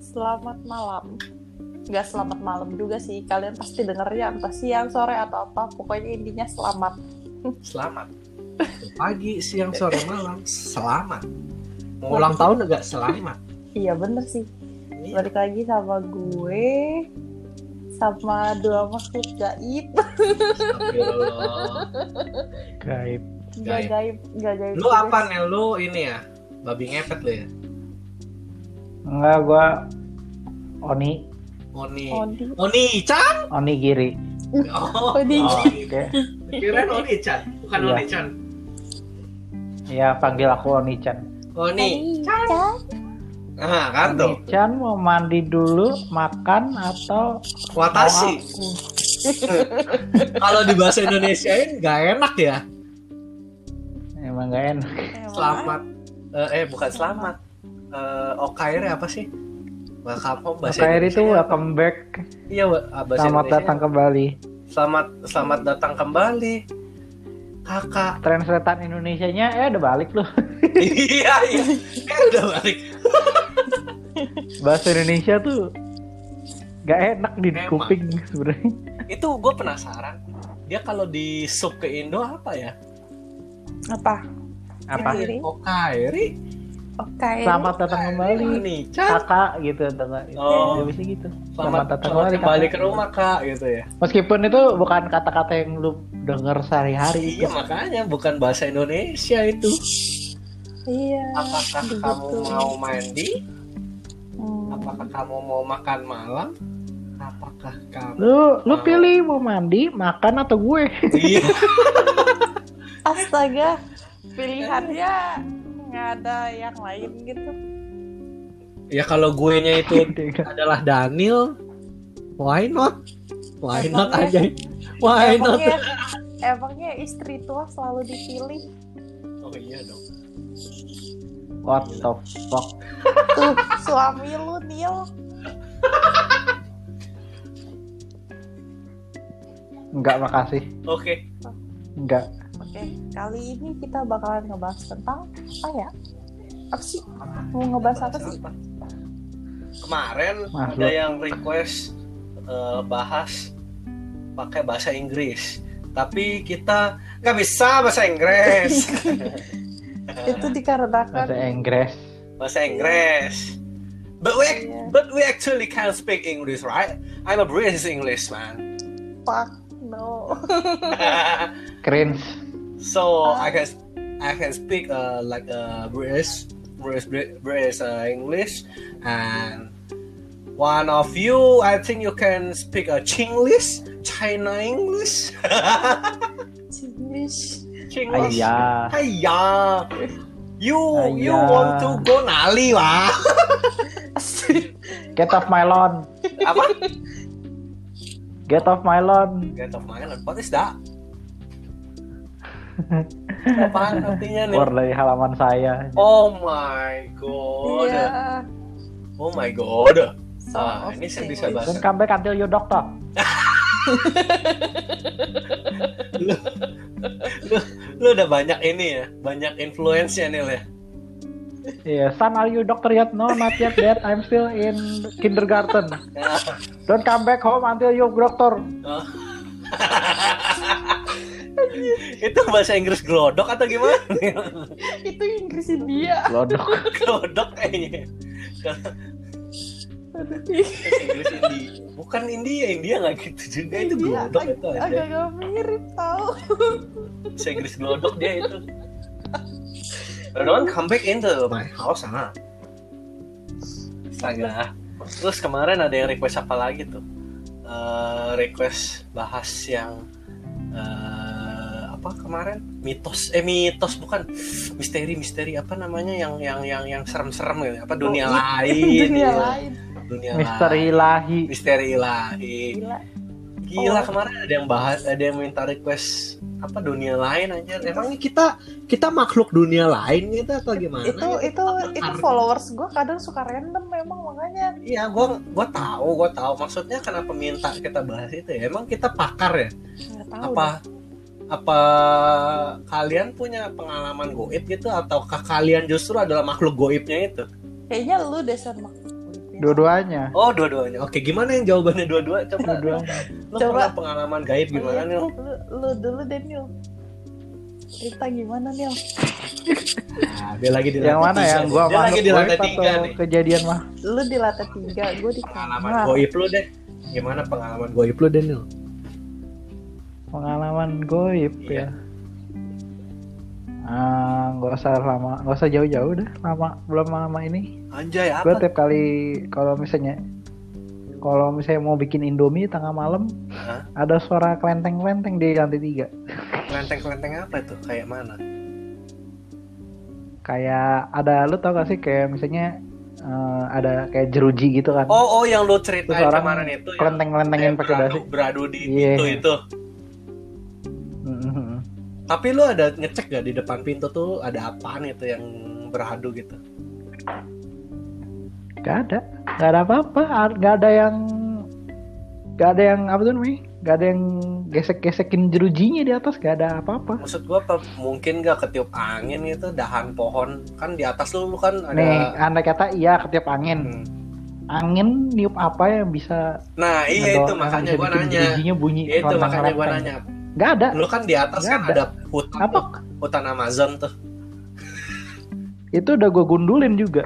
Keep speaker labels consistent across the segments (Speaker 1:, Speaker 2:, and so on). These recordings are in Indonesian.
Speaker 1: selamat malam. Gak selamat malam juga sih. Kalian pasti dengernya entah siang, sore, atau apa. Pokoknya intinya selamat.
Speaker 2: Selamat. Pagi, siang, sore, malam. Selamat. Mau ulang tahun enggak? Selamat.
Speaker 1: Iya bener sih.
Speaker 2: Iya.
Speaker 1: Balik lagi sama gue. Sama dua makhluk gaib.
Speaker 2: Astagfirullah.
Speaker 3: Gaib.
Speaker 1: Gak
Speaker 2: Gaib.
Speaker 1: gaib. Gak gaib.
Speaker 2: Lu
Speaker 1: juga
Speaker 2: apa Nel? Lu ini ya? Babi ngepet lu ya?
Speaker 3: Enggak, gua Oni,
Speaker 2: Oni.
Speaker 1: sih. Odi.
Speaker 2: Oni Chan?
Speaker 3: Oni Giri.
Speaker 2: Oh,
Speaker 1: Oni.
Speaker 2: oh,
Speaker 3: Oke.
Speaker 2: Kirain Oni Chan, bukan
Speaker 3: Iya.
Speaker 2: Oni Chan.
Speaker 3: Ya panggil aku Oni Chan.
Speaker 2: Oni.
Speaker 1: Chan.
Speaker 2: Nah, kan tuh.
Speaker 3: Oni Chan mau mandi dulu, makan atau
Speaker 2: Watashi.
Speaker 1: Hmm.
Speaker 2: Kalau di bahasa Indonesiain nggak enak ya.
Speaker 3: emang gak enak.
Speaker 1: Emang.
Speaker 2: Selamat. Eh, eh, bukan selamat. Eh, OKR apa sih? Welcome home bahasa
Speaker 3: Kayak itu
Speaker 2: Indonesia.
Speaker 3: welcome back.
Speaker 2: Iya, wa- ah, bahasa
Speaker 3: Selamat
Speaker 2: Indonesia.
Speaker 3: datang kembali.
Speaker 2: Selamat selamat datang kembali. Kakak.
Speaker 3: Translatean Indonesianya eh udah balik loh.
Speaker 2: iya, iya. Eh, udah balik.
Speaker 3: Bahasa Indonesia tuh gak enak di
Speaker 2: Emang.
Speaker 3: kuping sebenarnya.
Speaker 2: Itu gue penasaran. Dia kalau di sub ke Indo apa ya? Oh,
Speaker 1: Apa?
Speaker 3: Apa?
Speaker 1: Giri.
Speaker 2: OKR.
Speaker 1: Oke.
Speaker 3: Selamat datang kembali.
Speaker 2: Oni Chan.
Speaker 3: Kakak gitu, kakak.
Speaker 2: Oh.
Speaker 3: Ya, bisa gitu.
Speaker 2: Selamat,
Speaker 3: datang
Speaker 2: selamat
Speaker 3: kembali,
Speaker 2: kembali
Speaker 3: Kakak.
Speaker 2: ke rumah, Kak, gitu ya.
Speaker 3: Meskipun itu bukan kata-kata yang lu denger sehari-hari.
Speaker 2: Iya makanya bukan bahasa Indonesia itu.
Speaker 1: Iya.
Speaker 2: Apakah
Speaker 1: begitu.
Speaker 2: kamu mau mandi?
Speaker 1: Hmm.
Speaker 2: Apakah kamu mau makan malam? Apakah kamu?
Speaker 3: Lu
Speaker 2: Nah.
Speaker 3: lu pilih mau mandi, makan atau gue?
Speaker 2: Iya.
Speaker 1: Astaga, pilihannya nggak ada yang lain gitu.
Speaker 2: ya kalau gue nya itu
Speaker 3: Gitu,
Speaker 2: adalah Daniel, why not? Why not aja? Why not?
Speaker 1: Emangnya, emangnya istri tua selalu dipilih.
Speaker 2: Oh iya dong.
Speaker 3: What the fuck?
Speaker 1: Tuh, suami lu Nil.
Speaker 3: Enggak makasih.
Speaker 2: Oke.
Speaker 3: Enggak.
Speaker 1: Oke, kali ini kita bakalan ngebahas tentang apa ya? Apa sih? Mau ngebahas apa sih?
Speaker 2: Kemarin
Speaker 3: Makhluk.
Speaker 2: ada yang request eh, bahas pakai bahasa Inggris, tapi kita nggak bisa bahasa Inggris.
Speaker 1: Itu dikarenakan
Speaker 3: Bahasa Inggris.
Speaker 2: bahasa Inggris. But we
Speaker 1: Iya.
Speaker 2: but we actually can speak English, right? I'm a British Englishman,
Speaker 1: fuck no.
Speaker 3: Cringe.
Speaker 2: so
Speaker 1: Ah.
Speaker 2: I can I can speak uh, like a British British Brit- British uh, English, and one of you I think you can speak a Chinglish, China English,
Speaker 1: English.
Speaker 2: Chinglish.
Speaker 3: Ayah.
Speaker 2: Hiya. You you
Speaker 3: Hiya.
Speaker 2: want to go nali wah?
Speaker 3: Get off my lawn.
Speaker 2: Apa?
Speaker 3: Get off my lawn.
Speaker 2: Get off my lawn. What is that? Apaan artinya nih?
Speaker 3: Keluar dari halaman saya.
Speaker 2: Oh my god.
Speaker 1: Iya.
Speaker 2: Oh my god.
Speaker 1: So
Speaker 2: Ah, ini sih bisa
Speaker 1: English.
Speaker 2: bahasa.
Speaker 3: Don't come back until you doctor.
Speaker 2: Lu udah banyak ini ya, banyak influence-nya nih ya.
Speaker 3: Iya, son are you doctor yet? No, not yet dad. I'm still in kindergarten. Don't come back home until you doctor.
Speaker 2: Itu bahasa Inggris glodok atau gimana? nih?
Speaker 1: Itu Inggris India.
Speaker 3: Lodok.
Speaker 2: glodok kayaknya. Bahasa Inggris India. Bukan India, India nggak gitu juga itu
Speaker 1: India,
Speaker 2: glodok itu aja.
Speaker 1: Agak-agak mirip tau.
Speaker 2: Bahasa Inggris glodok dia itu. Don't come back into my house, ah. Astaga. Terus kemarin ada yang request apa lagi tuh? Eh, request bahas yang eh, apa kemarin? Mitos, eh mitos bukan misteri misteri apa namanya yang yang yang yang serem-serem gitu apa dunia
Speaker 1: Oh,
Speaker 2: lain?
Speaker 1: Dunia
Speaker 2: gitu.
Speaker 1: lain.
Speaker 2: Dunia
Speaker 3: Misteri
Speaker 2: lain.
Speaker 3: ilahi.
Speaker 2: Misteri lain.
Speaker 1: Gila.
Speaker 2: Gila
Speaker 1: Oh.
Speaker 2: kemarin ada yang bahas, ada yang minta request apa dunia lain aja. Emangnya kita kita makhluk dunia lain gitu atau gimana?
Speaker 1: itu itu itu followers gue kadang suka random memang makanya
Speaker 2: Iya, gua gua tahu, gua tahu. Maksudnya kenapa minta kita bahas itu ya? Emang kita pakar ya?
Speaker 1: nggak tahu
Speaker 2: Apa apa kalian punya pengalaman goib gitu ataukah kalian justru adalah makhluk goibnya itu?
Speaker 1: deh. kayaknya lu deh sama gue
Speaker 3: Dua-duanya.
Speaker 2: Oh dua-duanya. Oke gimana yang jawabannya dua-dua? Coba.
Speaker 3: Dua-duanya.
Speaker 2: Lo
Speaker 1: Coba. Iya.
Speaker 2: pernah pengalaman gaib gimana nih?
Speaker 1: Lu, lu dulu deh, Nil. Cerita gimana, Nil?
Speaker 2: Nah, dia lagi di
Speaker 3: Yang
Speaker 2: lantai tiga
Speaker 3: mana yang
Speaker 2: nih.
Speaker 3: gua
Speaker 2: Dia lagi
Speaker 3: masuk
Speaker 2: di lantai
Speaker 3: goib
Speaker 2: tiga
Speaker 3: atau
Speaker 2: nih.
Speaker 3: kejadian mah?
Speaker 1: Lu di lantai tiga, gue di
Speaker 2: Pengalaman
Speaker 1: kamar.
Speaker 2: goib lu deh. Gimana pengalaman goib lu deh Nil?
Speaker 3: Pengalaman goib
Speaker 2: Iya.
Speaker 3: ya. Ah, nggak usah lama, nggak usah jauh-jauh dah. Lama belum lama ini.
Speaker 2: Anjay
Speaker 3: Gue
Speaker 2: apa?
Speaker 3: tiap kali kalau misalnya kalau misalnya mau bikin Indomie tengah malam,
Speaker 2: Hah?
Speaker 3: ada suara kelenteng-kelenteng di lantai tiga.
Speaker 2: Kelenteng-kelenteng apa tuh? Kayak mana?
Speaker 3: Kayak ada lu tau gak sih kayak misalnya eh, ada kayak jeruji gitu kan.
Speaker 2: Oh oh yang lu ceritain
Speaker 3: Terus orang
Speaker 2: kemarin itu yang
Speaker 3: kelenteng-kelentengin
Speaker 2: kayak
Speaker 3: pakai
Speaker 2: beradu-
Speaker 3: dasi.
Speaker 2: Beradu di
Speaker 3: Iya.
Speaker 2: pintu itu.
Speaker 3: Mm-mm.
Speaker 2: Tapi lu ada ngecek gak di depan pintu tuh ada apaan itu yang beradu gitu?
Speaker 3: Gak ada, gak ada apa-apa, Ar- gak ada yang, gak ada yang apa tuh namanya, gak ada yang gesek-gesekin jerujinya di atas, gak ada apa-apa.
Speaker 2: Maksud gua apa, mungkin gak ketiup angin gitu dahan pohon kan di atas lu, lu kan ada
Speaker 3: Nih, andai kata iya ketiap angin,
Speaker 2: Hmm.
Speaker 3: angin niup apa yang bisa
Speaker 2: Nah, iya itu
Speaker 3: ngedor-
Speaker 2: makanya
Speaker 3: bisa
Speaker 2: gua
Speaker 3: bikin
Speaker 2: nanya.
Speaker 3: jerujinya bunyi
Speaker 2: Iya itu makanya gua
Speaker 3: kelenteng-kelenteng.
Speaker 2: nanya.
Speaker 3: Gak ada,
Speaker 2: Lu kan di atas
Speaker 3: Nggak
Speaker 2: kan
Speaker 3: ada.
Speaker 2: ada hutan,
Speaker 3: apa?
Speaker 2: tuh, hutan Amazon tuh.
Speaker 3: Itu udah gue gundulin juga,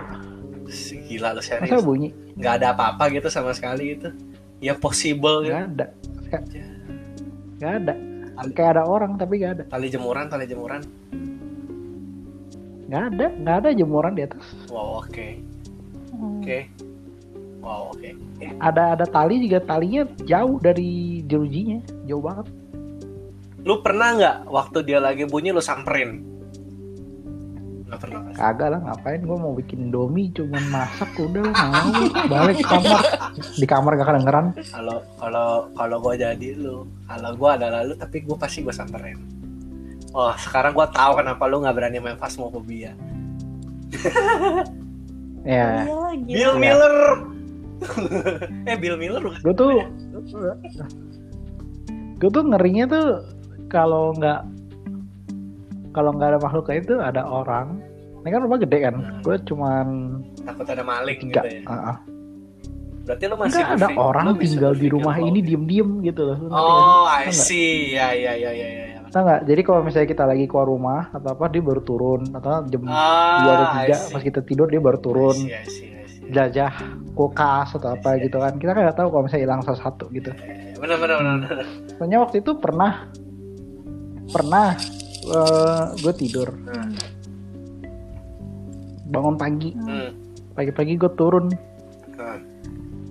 Speaker 2: Si, Gila lu
Speaker 3: masa
Speaker 2: serius.
Speaker 3: bunyi?
Speaker 2: Gak ada apa-apa gitu sama sekali gitu. Ya possible gitu.
Speaker 3: Gak ada, Gak-
Speaker 2: Iya.
Speaker 3: gak ada. Kayak ada orang tapi gak ada,
Speaker 2: Tali jemuran, tali jemuran.
Speaker 3: gak ada, gak ada jemuran di atas.
Speaker 2: Wow, oke.
Speaker 1: Hmm.
Speaker 2: Oke. Wow, oke.
Speaker 3: Ada ada tali juga talinya jauh dari jerujinya, jauh banget.
Speaker 2: Lu pernah nggak waktu dia lagi bunyi lu samperin? Nggak pernah. kan?
Speaker 3: Kagak lah ngapain gue mau bikin domi cuman masak udah lah mau balik ke kamar di kamar gak kedengeran
Speaker 2: Kalau kalau kalau gua jadi lu, kalau gua adalah lu tapi gua pasti gua samperin. Oh, sekarang gua tahu kenapa lu nggak berani main Phasmophobia.
Speaker 3: ya
Speaker 1: Iya, gila.
Speaker 2: Bill Miller. eh Bill Miller bukan?
Speaker 3: gue tuh gue tuh ngerinya tuh kalau nggak kalau nggak ada makhluk kayak itu ada orang ini kan rumah gede kan gue cuman
Speaker 2: takut ada maling
Speaker 3: tiga
Speaker 2: gitu ya.
Speaker 3: Heeh.
Speaker 2: Berarti lu masih
Speaker 3: nggak ada
Speaker 2: berpikir- lu
Speaker 3: orang
Speaker 2: bisa
Speaker 3: tinggal di
Speaker 2: berpikir
Speaker 3: rumah
Speaker 2: bahwa-
Speaker 3: ini diem-diem gitu loh Lu ngerti nggak sih?
Speaker 2: Oh, I
Speaker 3: Tau nggak?
Speaker 2: see. Ya ya ya ya ya. ya.
Speaker 3: Tau nggak jadi kalau misalnya kita lagi keluar rumah atau apa dia baru turun atau jam dua atau
Speaker 2: Ah, I
Speaker 3: tiga
Speaker 2: see.
Speaker 3: pas kita tidur dia baru
Speaker 2: I
Speaker 3: turun
Speaker 2: see, I see, I see. Ya,
Speaker 3: jelajah kulkas atau apa gitu kan kita kan nggak tahu kalau misalnya hilang salah satu gitu
Speaker 2: Eh, Benar benar benar. benar.
Speaker 3: soalnya waktu itu pernah pernah gue tidur
Speaker 2: Nah,
Speaker 3: bangun pagi
Speaker 2: hmm,
Speaker 3: pagi-pagi gue turun
Speaker 2: nah,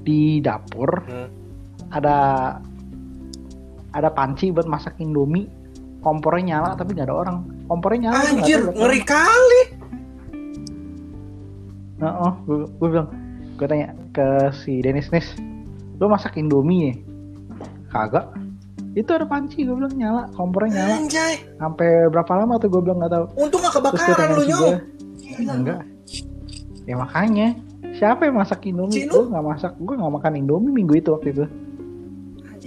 Speaker 3: di dapur
Speaker 2: hmm.
Speaker 3: ada ada panci buat masak indomie kompornya nyala tapi nggak ada orang kompornya nyala tapi Ah, nggak
Speaker 2: Anjir,
Speaker 3: ada orang.
Speaker 2: ngeri kali.
Speaker 3: Heeh, Nah, oh, gua gue bilang, gue tanya ke si Dennis Nis, lu masak Indomie ya? Kagak. Itu ada panci, gue bilang nyala, kompornya nyala.
Speaker 2: Anjay,
Speaker 3: Sampai berapa lama tuh gue bilang nggak tahu.
Speaker 2: untung gak
Speaker 3: Terus dia
Speaker 2: kebakaran
Speaker 3: tanya
Speaker 2: lu
Speaker 3: si
Speaker 2: nyong.
Speaker 3: gue, enggak. Ya makanya, siapa yang masak Indomie?
Speaker 2: Cino.
Speaker 3: Gue nggak masak, gue nggak makan Indomie minggu itu waktu itu.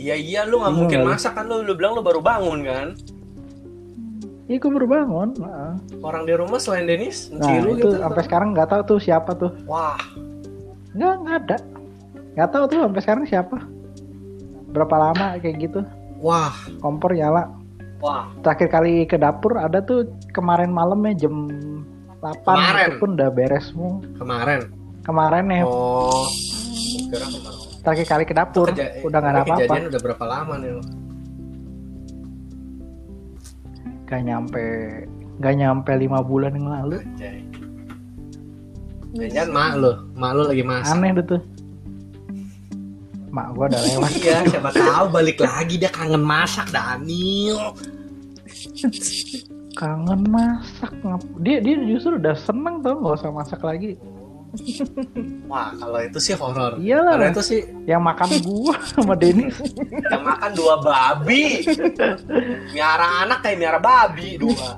Speaker 2: Iya iya lu gak
Speaker 3: Bingung
Speaker 2: mungkin
Speaker 3: kali.
Speaker 2: masak kan lu, lu bilang lu baru bangun kan.
Speaker 3: Iya, gue baru bangun. heeh.
Speaker 2: Orang di rumah selain Denis,
Speaker 3: Nah,
Speaker 2: Cilu
Speaker 3: itu
Speaker 2: gitu.
Speaker 3: sampai sekarang nggak tahu tuh siapa tuh.
Speaker 2: Wah,
Speaker 3: Nggak, nggak ada. Nggak tahu tuh sampai sekarang siapa. Berapa lama kayak gitu,
Speaker 2: wah,
Speaker 3: kompor nyala.
Speaker 2: wah.
Speaker 3: terakhir kali ke dapur ada tuh kemarin malamnya jam 8
Speaker 2: Kemarin?
Speaker 3: itu pun udah beres semua
Speaker 2: Kemarin.
Speaker 3: kemarin ya
Speaker 2: Oh, kira kemarin.
Speaker 3: terakhir kali ke dapur
Speaker 2: Keja-
Speaker 3: udah nggak ada
Speaker 2: tapi
Speaker 3: apa-apa
Speaker 2: Kejadian udah berapa lama nih lu?
Speaker 3: gak nyampe gak nyampe lima bulan yang lalu
Speaker 2: Anjay. Jangan mak lu, mak lu lagi masak.
Speaker 3: aneh deh tuh mak gua udah lewat
Speaker 2: Iya, siapa tahu balik lagi dia kangen masak Daniel.
Speaker 3: kangen masak ngap- dia dia justru udah seneng tau nggak usah masak lagi
Speaker 2: Wah, kalau itu sih horor.
Speaker 3: iyalah
Speaker 2: Kalau itu sih
Speaker 3: yang makan gua sama Denny
Speaker 2: yang makan dua babi. Miara anak kayak miara babi dua.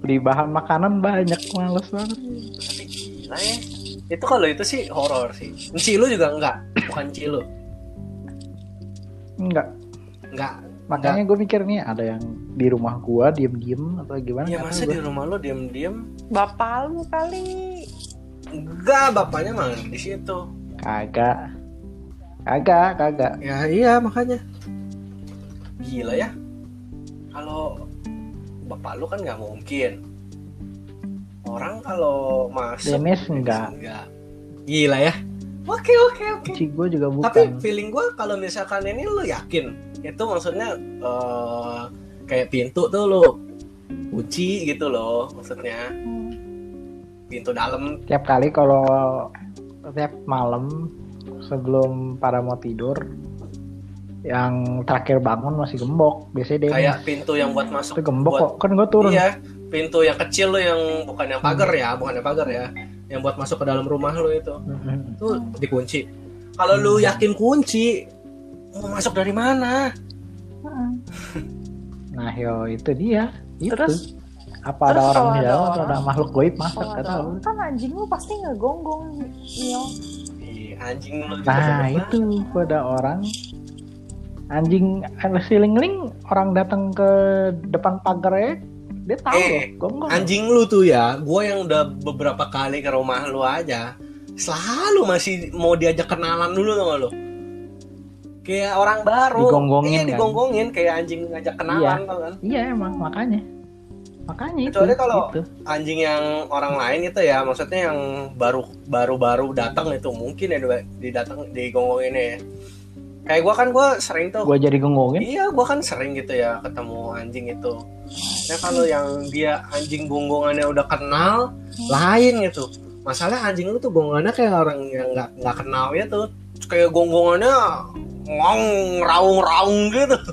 Speaker 3: beli bahan makanan banyak males banget
Speaker 2: Tapi gila ya. Itu kalau itu sih horor sih. Enci lu juga enggak, bukan enci lu.
Speaker 3: enggak
Speaker 2: Enggak.
Speaker 3: makanya gue mikir nih ada yang di rumah gua diem-diem atau gimana
Speaker 2: Ya
Speaker 3: nggak tahu
Speaker 2: masa
Speaker 3: gua.
Speaker 2: di rumah lu diam-diam
Speaker 1: Bapak lu kali.
Speaker 2: Enggak, bapaknya mah di situ.
Speaker 3: Kagak. Kagak, kagak.
Speaker 2: Ya iya makanya. Gila ya. Kalau bapak lu kan nggak mungkin. Orang kalau masuk
Speaker 3: Dennis enggak.
Speaker 2: enggak. Gila ya. Oke oke oke.
Speaker 3: Cici gue juga bukan.
Speaker 2: Tapi feeling gua kalau misalkan ini lu yakin itu maksudnya eh, kayak pintu tuh lu kunci gitu loh maksudnya
Speaker 1: Hmm.
Speaker 2: pintu dalam
Speaker 3: tiap kali kalau tiap malam sebelum pada mau tidur yang terakhir bangun masih gembok biasanya dia
Speaker 2: kayak pintu yang buat masuk
Speaker 3: Iya. itu gembok
Speaker 2: buat-
Speaker 3: kok kan gue turun
Speaker 2: Iya, pintu yang kecil lo yang bukan yang pagar ya, bukan yang pagar ya, yang buat masuk ke dalam rumah lo itu,
Speaker 3: Mhm.
Speaker 2: itu dikunci. Kalau lu yakin kunci, mau masuk dari mana?
Speaker 3: Ah, nah yo itu dia itu.
Speaker 1: Terus?
Speaker 3: apa ada
Speaker 1: Terus
Speaker 3: orang
Speaker 1: kalau
Speaker 3: di
Speaker 1: ada
Speaker 3: dalam atau
Speaker 1: orang?
Speaker 3: ada makhluk goib masuk
Speaker 1: Kalau
Speaker 3: nggak
Speaker 1: ada
Speaker 3: tahu
Speaker 1: orang- kan anjing lu pasti ngegonggong Mio.
Speaker 2: Ih, anjing lu. juga
Speaker 3: nah
Speaker 2: bodoh
Speaker 3: itu kalau ada orang anjing eh, si ling orang datang ke depan pagarnya dia tahu
Speaker 2: Eh,
Speaker 3: loh gonggong
Speaker 2: banget. Anjing lu tuh ya, gua yang udah beberapa kali ke rumah lu aja, selalu masih mau diajak kenalan dulu sama lu. Kayak orang baru,
Speaker 3: Digonggongin,
Speaker 2: Iya,
Speaker 3: kan?
Speaker 2: digonggongin kayak anjing ngajak kenalan, tau kan?
Speaker 3: Iya emang makanya. Makanya itu. gitu.
Speaker 2: Kecuali kalau-
Speaker 3: itu.
Speaker 2: anjing yang orang lain itu ya maksudnya yang baru baru baru datang itu mungkin ya di- didatang digonggongin ya kayak gua kan gua sering tuh
Speaker 3: gua jadi gonggongin.
Speaker 2: iya gua kan sering gitu ya ketemu anjing itu ya kalau yang dia anjing gonggongannya udah kenal lain gitu masalah anjing lu tuh gonggongannya kayak orang yang nggak nggak kenal ya tuh kayak gonggongannya ngong raung raung gitu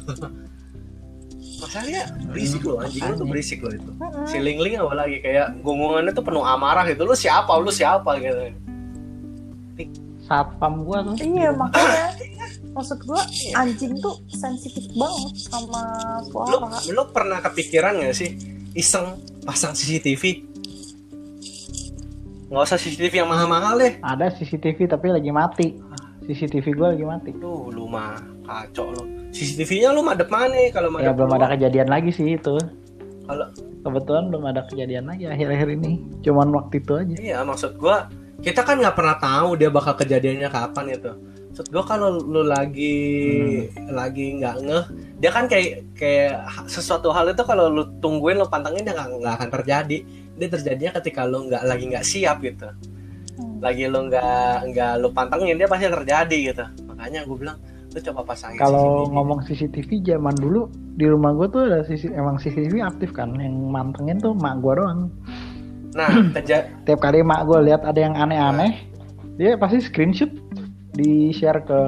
Speaker 2: masalahnya berisik loh anjing lu tuh berisik loh itu
Speaker 1: Mm-mm.
Speaker 2: si Ling Ling apalagi kayak gonggongannya tuh penuh amarah gitu lu siapa lu siapa gitu
Speaker 3: Satpam gua tuh.
Speaker 1: Iya makanya maksud gua anjing tuh sensitif banget sama
Speaker 2: lu,
Speaker 1: suara.
Speaker 2: lu pernah kepikiran gak sih iseng pasang CCTV nggak usah CCTV yang mahal-mahal deh
Speaker 3: Ada CCTV tapi lagi mati. CCTV gua lagi mati.
Speaker 2: lu lu mah kacau lu CCTV-nya lu madep mana kalau madep
Speaker 3: Ya belum
Speaker 2: keluar?
Speaker 3: ada kejadian lagi sih itu.
Speaker 2: Kalau-
Speaker 3: kebetulan belum ada kejadian lagi akhir-akhir ini. Cuman waktu itu aja.
Speaker 2: iya maksud gua kita kan nggak pernah tahu dia bakal kejadiannya kapan itu maksud gua kalau lu lagi
Speaker 3: Hmm.
Speaker 2: lagi nggak ngeh dia kan kayak kayak ha- sesuatu hal itu kalau lu tungguin lu pantengin dia nggak nggak akan terjadi dia terjadinya ketika lu nggak lagi nggak siap gitu
Speaker 1: Hmm.
Speaker 2: lagi lu nggak nggak lu pantengin dia pasti terjadi gitu makanya gua bilang lu coba pasangin
Speaker 3: Kalau
Speaker 2: CCTV.
Speaker 3: ngomong CCTV zaman dulu di rumah gua tuh ada CC emang CCTV aktif kan yang mantengin tuh mak gua doang.
Speaker 2: nah keja
Speaker 3: Tiap kali mak gua lihat ada yang aneh-aneh, dia pasti screenshot di share ke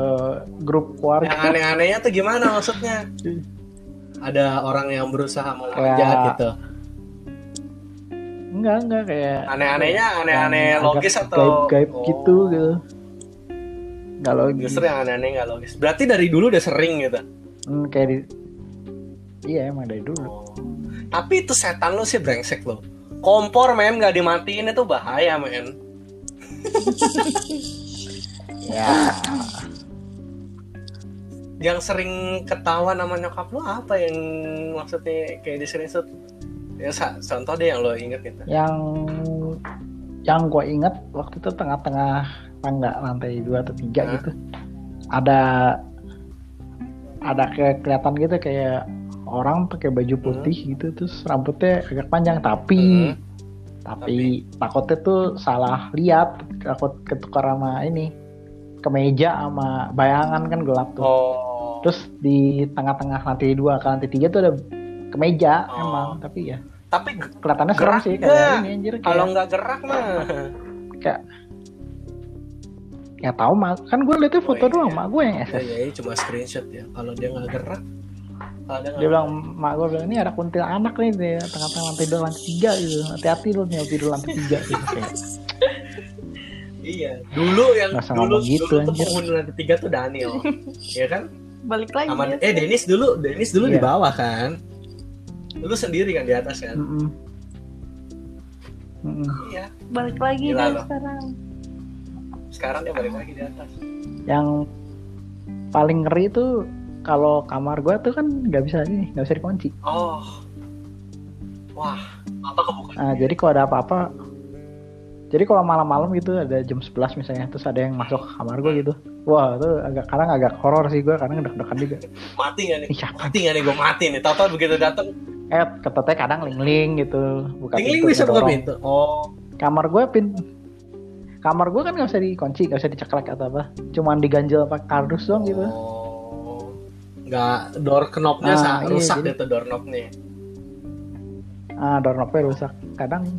Speaker 3: grup keluarga.
Speaker 2: yang aneh-anehnya tuh gimana maksudnya
Speaker 3: Hmm.
Speaker 2: ada orang yang berusaha mau
Speaker 3: Kayak-
Speaker 2: manjat gitu
Speaker 3: Enggak, enggak kayak
Speaker 2: aneh-anehnya aneh-aneh
Speaker 3: yang
Speaker 2: logis
Speaker 3: agak
Speaker 2: atau
Speaker 3: gaib-gaib
Speaker 2: Oh,
Speaker 3: gitu gitu. Enggak logis.
Speaker 2: justru ya? yang aneh-aneh nggak logis berarti dari dulu udah sering gitu
Speaker 3: Hmm, kayak di Iya emang dari dulu.
Speaker 2: tapi itu setan lu sih brengsek lo kompor men nggak dimatiin itu bahaya men
Speaker 3: Ya,
Speaker 2: yang sering ketawa nama nyokap lu apa yang maksudnya kayak di screenshot ya sa- contoh deh yang lo inget gitu
Speaker 3: yang yang gue inget waktu itu tengah-tengah tangga lantai dua atau tiga
Speaker 2: Hah?
Speaker 3: gitu ada ada kayak kelihatan gitu kayak orang pakai baju putih gitu terus rambutnya agak panjang tapi
Speaker 2: Mhm.
Speaker 3: tapi takutnya tuh salah lihat takut ketukar sama ini kemeja sama bayangan kan gelap tuh
Speaker 2: oh
Speaker 3: terus di tengah-tengah lantai dua ke lantai tiga tuh ada kemeja
Speaker 2: Oh.
Speaker 3: emang tapi ya
Speaker 2: tapi ge-
Speaker 3: kelihatannya serem
Speaker 2: Gerak
Speaker 3: sih
Speaker 2: nggak?
Speaker 3: kayak ini anjir kayak
Speaker 2: kalau nggak gerak mah
Speaker 3: ya tahu mak kan gue liatnya foto
Speaker 2: Oh, iya.
Speaker 3: doang mak gue yang
Speaker 2: ya,
Speaker 3: SS
Speaker 2: ya, ini cuma screenshot ya kalau dia nggak gerak kalau dia
Speaker 3: dia
Speaker 2: nggak
Speaker 3: bilang mak gue bilang ini ada kuntil anak nih di tengah-tengah lantai dua lantai tiga gitu hati-hati lu nih tidur lantai tiga gitu kayak
Speaker 2: Iya, dulu yang
Speaker 3: Nggak usah
Speaker 2: dulu
Speaker 3: ngomong gitu,
Speaker 2: dulu tuh
Speaker 3: anjir.
Speaker 2: penghuni lantai tiga tuh Daniel, ya kan?
Speaker 1: Balik lagi.
Speaker 2: Sama,
Speaker 1: dia
Speaker 2: eh Denis dulu, Denis dulu di
Speaker 3: Iya.
Speaker 2: bawah kan? Lu sendiri kan di atas kan?
Speaker 3: Mm-mm. Mm-mm.
Speaker 2: Iya.
Speaker 1: balik lagi
Speaker 2: Gila
Speaker 1: dia
Speaker 2: lo.
Speaker 1: sekarang.
Speaker 2: Sekarang dia balik lagi di atas.
Speaker 3: yang paling ngeri itu kalau kamar gue tuh kan nggak bisa ini nggak bisa dikunci
Speaker 2: Oh, wah, apa kebuka?
Speaker 3: nah, jadi kalau ada apa-apa Jadi kalau malam-malam gitu ada jam 11 misalnya terus ada yang masuk ke kamar gue gitu. Wah, itu agak kadang agak horor sih gue kadang deg-degan juga.
Speaker 2: Mati gak nih?
Speaker 3: Ih, siapa?
Speaker 2: Mati gak nih? Gue mati nih. Tau-tau begitu dateng,
Speaker 3: Eh, ketetnya kadang lingling gitu, buka
Speaker 2: tingling
Speaker 3: pintu,
Speaker 2: bisa buka
Speaker 3: ngedorong.
Speaker 2: pintu. Oh,
Speaker 3: Kamar gue pin Kamar gue kan nggak bisa dikunci, nggak bisa diceklek atau apa. Cuman diganjel pakai kardus doang gitu.
Speaker 2: Oh. Nggak, door knobnya
Speaker 3: Ah,
Speaker 2: sa-
Speaker 3: iya,
Speaker 2: rusak
Speaker 3: jadi-
Speaker 2: gitu door knobnya.
Speaker 3: Ah, doorknobnya rusak. Kadang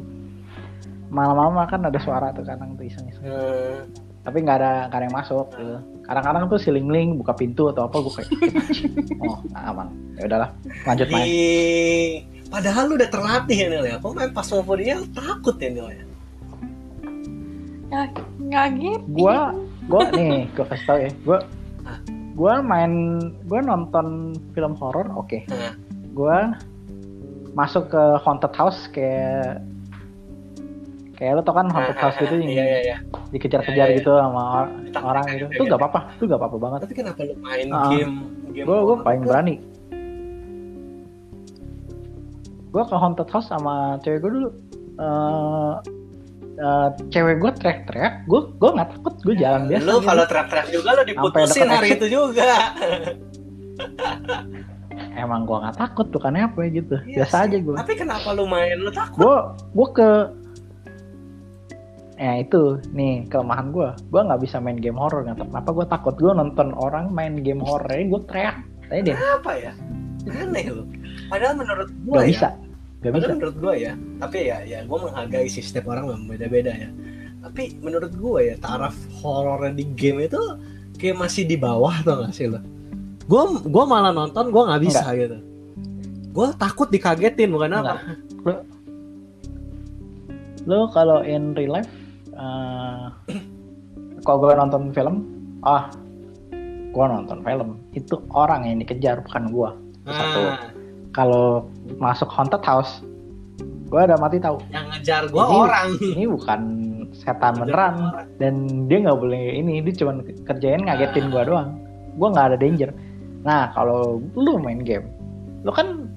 Speaker 3: malam-malam kan ada suara tuh kadang tuh iseng-iseng.
Speaker 2: Eh,
Speaker 3: tapi nggak ada nggak ada yang masuk gitu. kadang-kadang tuh si Lingling buka pintu atau apa gue kayak oh aman ya udahlah lanjut main
Speaker 2: di... Padahal lu udah terlatih ya Nil ya. Kok main Phasmophobia lu takut ya Nil ya?
Speaker 1: Ya, nggak gitu.
Speaker 3: gue gue nih gue kasih tau ya gue
Speaker 2: Ah.
Speaker 3: gue main gue nonton film horor oke
Speaker 2: Ah.
Speaker 3: gue masuk ke haunted house kayak kayak lo tau kan haunted house gitu
Speaker 2: Ah,
Speaker 3: yang
Speaker 2: Iya, iya, iya. Iya,
Speaker 3: dikejar-kejar
Speaker 2: iya.
Speaker 3: gitu sama or-
Speaker 2: Takut,
Speaker 3: orang
Speaker 2: takut,
Speaker 3: gitu
Speaker 2: iya,
Speaker 3: tuh
Speaker 2: iya.
Speaker 3: gak apa-apa tuh gak apa-apa banget
Speaker 2: Tapi kenapa lu main
Speaker 3: Ah.
Speaker 2: game? game
Speaker 3: gue gue
Speaker 2: horror?
Speaker 3: paling berani gue ke haunted house sama cewek gue dulu Eh, eh, cewek gue teriak-teriak gue gue nggak takut gue jalan biasa
Speaker 2: Lu
Speaker 3: gitu.
Speaker 2: kalau teriak-teriak juga lu diputusin
Speaker 3: deket
Speaker 2: hari
Speaker 3: exit.
Speaker 2: itu juga.
Speaker 3: emang gue nggak takut bukannya apa ya gitu
Speaker 2: Iya
Speaker 3: biasa
Speaker 2: sih.
Speaker 3: aja gue
Speaker 2: Tapi kenapa lu main? Lu takut?
Speaker 3: gue gue ke ya itu nih kelemahan gue gue nggak bisa main game horror nggak tahu kenapa gue takut gue nonton orang main game horror gue teriak tadi deh
Speaker 2: Kenapa ya? Aneh lu. Padahal menurut gua
Speaker 3: nggak
Speaker 2: ya.
Speaker 3: bisa nggak bisa
Speaker 2: Padahal menurut gue ya, tapi ya ya gue menghargai sih setiap orang memang beda-beda ya. Tapi menurut gue ya taraf horornya di game itu kayak masih di bawah tau gak sih lo? Gue gua malah nonton gue nggak bisa gitu. Gue takut dikagetin bukan apa?
Speaker 3: lo kalau in real life eh, kalau gue nonton film ah gue nonton film itu orang yang dikejar bukan gue Satu.
Speaker 2: Nah,
Speaker 3: kalau masuk haunted house gue udah mati tahu
Speaker 2: yang ngejar gue
Speaker 3: Ini-
Speaker 2: orang. Hmm.
Speaker 3: ini bukan setan beneran
Speaker 2: Orang.
Speaker 3: dan dia nggak boleh ini dia cuma kerjain ngagetin gue doang gue nggak ada danger nah kalau lu main game lu kan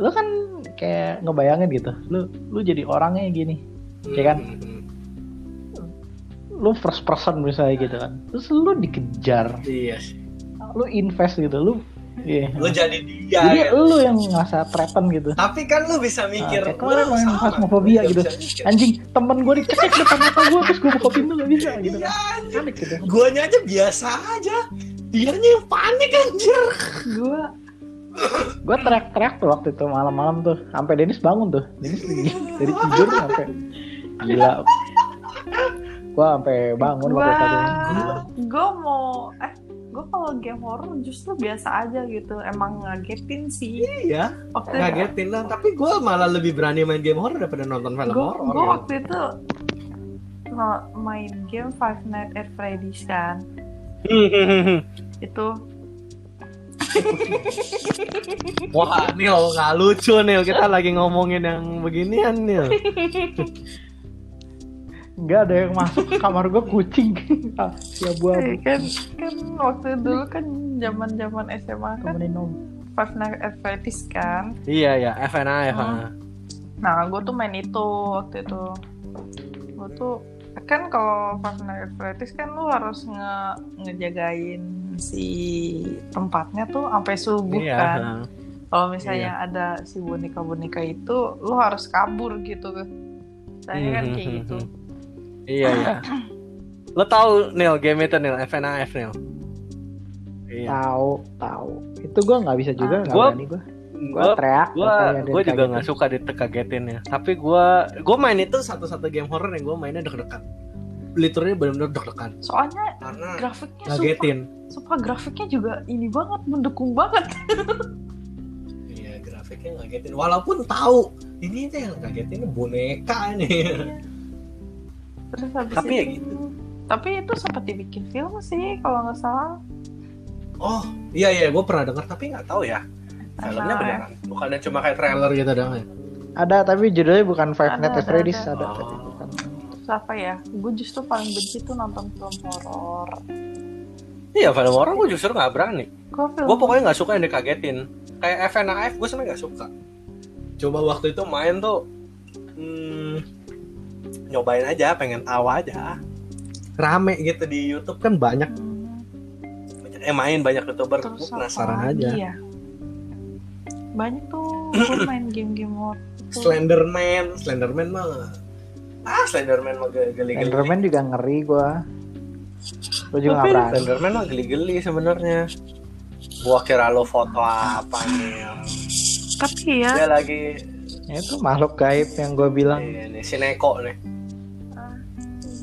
Speaker 3: lu kan kayak ngebayangin gitu lu lu jadi orangnya gini Iya kan?
Speaker 2: Hmm,
Speaker 3: lu first person misalnya gitu kan terus lu dikejar
Speaker 2: Iya sih.
Speaker 3: lu invest gitu lu iya
Speaker 2: Lu jadi dia.
Speaker 3: jadi
Speaker 2: gitu.
Speaker 3: lu yang ngerasa threaten gitu
Speaker 2: Tapi kan lu bisa mikir.
Speaker 3: kayak kemarin
Speaker 2: "Wah,
Speaker 3: main
Speaker 2: sama."
Speaker 3: Phasmophobia
Speaker 2: Lu
Speaker 3: gitu.
Speaker 2: bisa mikir.
Speaker 3: anjing temen gue dicekek depan mata gue terus gue buka pintu gak bisa gitu
Speaker 2: Iya,
Speaker 3: kan panik gitu
Speaker 2: guanya aja biasa aja dianya yang panik anjir
Speaker 3: gue gue
Speaker 2: Hmm.
Speaker 3: teriak-teriak tuh waktu itu malam-malam tuh sampai Denis bangun tuh Denis di- dari tidur sampai gila gue sampai bangun waktu itu
Speaker 1: gue mau eh gue kalau game horror justru biasa aja gitu emang ngagetin sih
Speaker 2: iya
Speaker 1: waktu itu
Speaker 2: ngagetin lah tapi gue malah lebih berani main game horror daripada nonton film
Speaker 1: gue
Speaker 2: horror ya?
Speaker 1: gue waktu itu no- main game Five Nights at Freddy's kan
Speaker 2: ya.
Speaker 1: itu
Speaker 2: wah Nil nggak lucu Nil kita lagi ngomongin yang beginian Nil
Speaker 1: iya
Speaker 3: nggak ada yang masuk ke kamar gue kucing ya
Speaker 1: eh,
Speaker 3: buat
Speaker 1: kan kan waktu dulu kan zaman zaman SMA kan
Speaker 3: temenin om
Speaker 1: Five Nights at Freddy's kan
Speaker 2: iya ya FNA FNA
Speaker 1: Nah, gue tuh main itu waktu itu. Gue tuh kan kalau pas naik atletis kan lu harus nge ngejagain si tempatnya tuh sampai subuh
Speaker 2: iya
Speaker 1: kan. Kalau misalnya ada si boneka-boneka itu, lu harus kabur gitu. Saya kan kayak
Speaker 2: Mhm,
Speaker 1: gitu.
Speaker 2: iya iya lo tau Nil game itu Nil FNAF Nil iya
Speaker 1: Nah,
Speaker 3: tahu tahu itu gue nggak bisa juga
Speaker 2: Ah,
Speaker 3: nggak
Speaker 2: Gua-
Speaker 3: berani gue gue
Speaker 2: gue
Speaker 3: teriak
Speaker 2: gua gua juga nggak suka ditekagetin ya tapi gua gua main itu satu-satu game horror yang gua mainnya deg-degan literally benar-benar deg-degan
Speaker 1: Soalnya
Speaker 2: karena
Speaker 1: grafiknya sumpah,
Speaker 2: ngagetin
Speaker 1: sumpah grafiknya juga ini banget mendukung banget.
Speaker 2: iya grafiknya ngagetin walaupun tahu ini tuh yang ngagetin boneka nih
Speaker 1: Terus habis
Speaker 2: Tapi
Speaker 1: itu,
Speaker 2: ya gitu.
Speaker 1: Tapi itu sempat dibikin film sih kalau nggak salah.
Speaker 2: oh iya iya gua pernah dengar tapi nggak tahu ya filmnya
Speaker 1: Karena-
Speaker 2: beneran bukan ada cuma kayak trailer gitu dong ya
Speaker 3: ada tapi judulnya bukan
Speaker 1: Ada,
Speaker 3: Five Nights at
Speaker 1: ada,
Speaker 3: Freddy's
Speaker 1: ada.
Speaker 3: ada,
Speaker 2: Oh.
Speaker 3: tapi bukan
Speaker 1: Terus apa ya gue justru paling benci tuh nonton film horor
Speaker 2: iya film horror gua justru nggak berani
Speaker 1: gue film
Speaker 2: gue pokoknya nggak suka yang dikagetin kayak FNAF gue sebenarnya nggak suka coba waktu itu main tuh hmm, nyobain aja pengen tawa aja rame gitu di YouTube kan banyak banyak eh main banyak youtuber
Speaker 1: Hmm, Terus
Speaker 2: gue
Speaker 1: apa
Speaker 2: penasaran
Speaker 1: lagi
Speaker 2: aja
Speaker 1: ya? Banyak tuh gue main game-game waktu
Speaker 2: Slenderman Slenderman mah ah Slenderman mah ge- geli-geli
Speaker 3: Enderman juga ngeri gua. Gua juga nggak
Speaker 2: Tapi
Speaker 3: berani.
Speaker 2: Slenderman mah geli-geli sebenarnya gua kira lo foto apa nih
Speaker 1: Tapi ya,
Speaker 2: dia lagi
Speaker 3: Ya Itu makhluk gaib yang gua bilang.
Speaker 2: Iya nih, si Neko nih.
Speaker 1: Ah.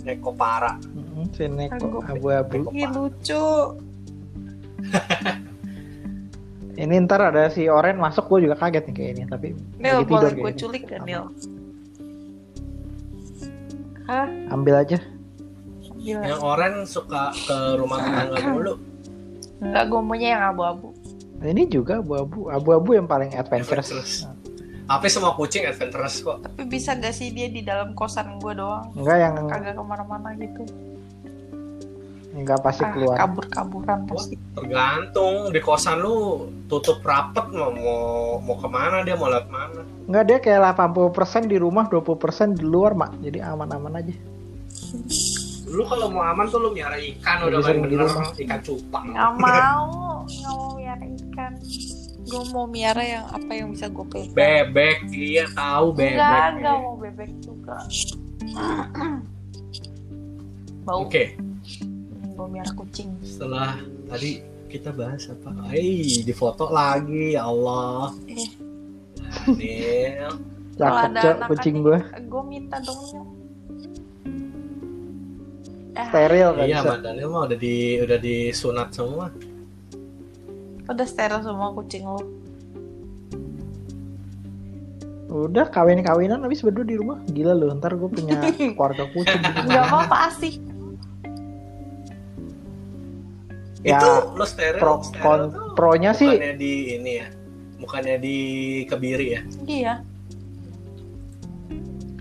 Speaker 2: Neko parah.
Speaker 3: Mm, Si Neko
Speaker 1: Sanggup.
Speaker 3: abu-abu.
Speaker 1: ih lucu.
Speaker 3: Ini ntar ada si Oren masuk gua juga kaget nih kayaknya. Tapi
Speaker 1: Nil,
Speaker 3: lagi tidur
Speaker 1: boleh gue
Speaker 3: kayaknya.
Speaker 1: culik gak, Nil? Hah?
Speaker 3: Ambil aja.
Speaker 1: Gila.
Speaker 2: Yang orang suka ke rumah tetangga dulu.
Speaker 1: Enggak, gue maunya yang abu-abu.
Speaker 3: Ini juga abu-abu. Abu-abu yang paling adventurous.
Speaker 2: Adventurous. Tapi semua kucing adventurous kok.
Speaker 1: Tapi bisa gak sih dia di dalam kosan gue doang?
Speaker 3: Enggak yang
Speaker 1: Kagak kemana-mana gitu.
Speaker 3: enggak pasti
Speaker 1: Ah,
Speaker 3: keluar.
Speaker 1: kabur-kaburan pasti.
Speaker 2: Tergantung di kosan lu tutup rapet mau mau, mau kemana dia mau lewat mana.
Speaker 3: Enggak dia kayak 80% di rumah, 20% di luar, Mak. Jadi aman-aman aja.
Speaker 2: Lu kalau mau aman tuh lu miara ikan
Speaker 3: Jadi
Speaker 2: udah
Speaker 3: sering
Speaker 2: paling
Speaker 3: di
Speaker 2: bener
Speaker 3: rumah.
Speaker 2: ikan cupang.
Speaker 1: Nggak mau, nggak mau miara ikan. Gue mau miara yang apa yang bisa gue pegang.
Speaker 2: Bebek dia tahu bebek.
Speaker 1: Enggak, enggak mau bebek juga. Bau
Speaker 2: Oke,
Speaker 1: bau miara kucing.
Speaker 2: setelah tadi kita bahas apa? Ai, difoto lagi ya Allah.
Speaker 1: Eh.
Speaker 2: Daniel.
Speaker 1: Kalau
Speaker 3: Cakep,
Speaker 1: ada
Speaker 3: Cok,
Speaker 1: anak
Speaker 3: kucing
Speaker 1: adik,
Speaker 3: gua.
Speaker 1: Gue minta dong. Nyok. Dah,
Speaker 3: Steril kan
Speaker 2: Iya,
Speaker 3: bisa.
Speaker 2: Mbak Daniel mah udah di udah disunat semua.
Speaker 1: udah steril semua kucing lo.
Speaker 3: Udah kawin-kawinan habis berdua di rumah. Gila lu, ntar gue punya keluarga kucing.
Speaker 1: Enggak apa-apa asih.
Speaker 3: Ya,
Speaker 2: itu lo steril.
Speaker 3: Pro
Speaker 2: steril
Speaker 3: kon,
Speaker 2: tuh
Speaker 3: pronya sih
Speaker 2: Bukannya di ini ya. Bukannya di kebiri ya.
Speaker 1: Iya.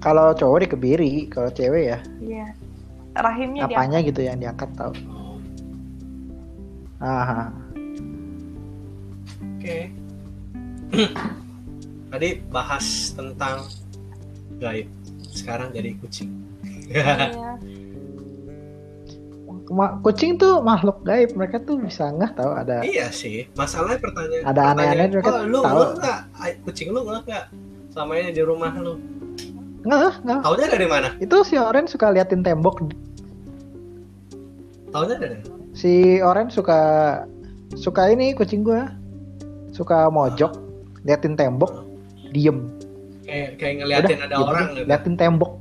Speaker 3: kalau cowok dikebiri, kalau cewek ya
Speaker 1: Iya. Rahimnya dia
Speaker 3: apanya gitu yang diangkat tau. Aha.
Speaker 2: Oke. Tadi bahas tentang gaib. Sekarang jadi kucing.
Speaker 1: Iya.
Speaker 3: Ma- Kucing tuh makhluk gaib, mereka tuh bisa ngeh tau ada
Speaker 2: Iya sih. Masalahnya pertanyaan.
Speaker 3: Ada aneh-aneh
Speaker 2: pertanyaan,
Speaker 3: mereka
Speaker 2: oh, lu
Speaker 3: tahu.
Speaker 2: lu enggak kucing lu enggak selama ini di rumah lu.
Speaker 3: ngeh ngeh.
Speaker 2: Taunya dari mana?
Speaker 3: Itu si Oren suka liatin tembok.
Speaker 2: Taunya dari mana?
Speaker 3: Si Oren suka suka ini kucing gua. Suka mojok, liatin tembok, diem.
Speaker 2: Kayak kayak ngeliatin ada
Speaker 3: gitu.
Speaker 2: orang gitu.
Speaker 3: liatin tembok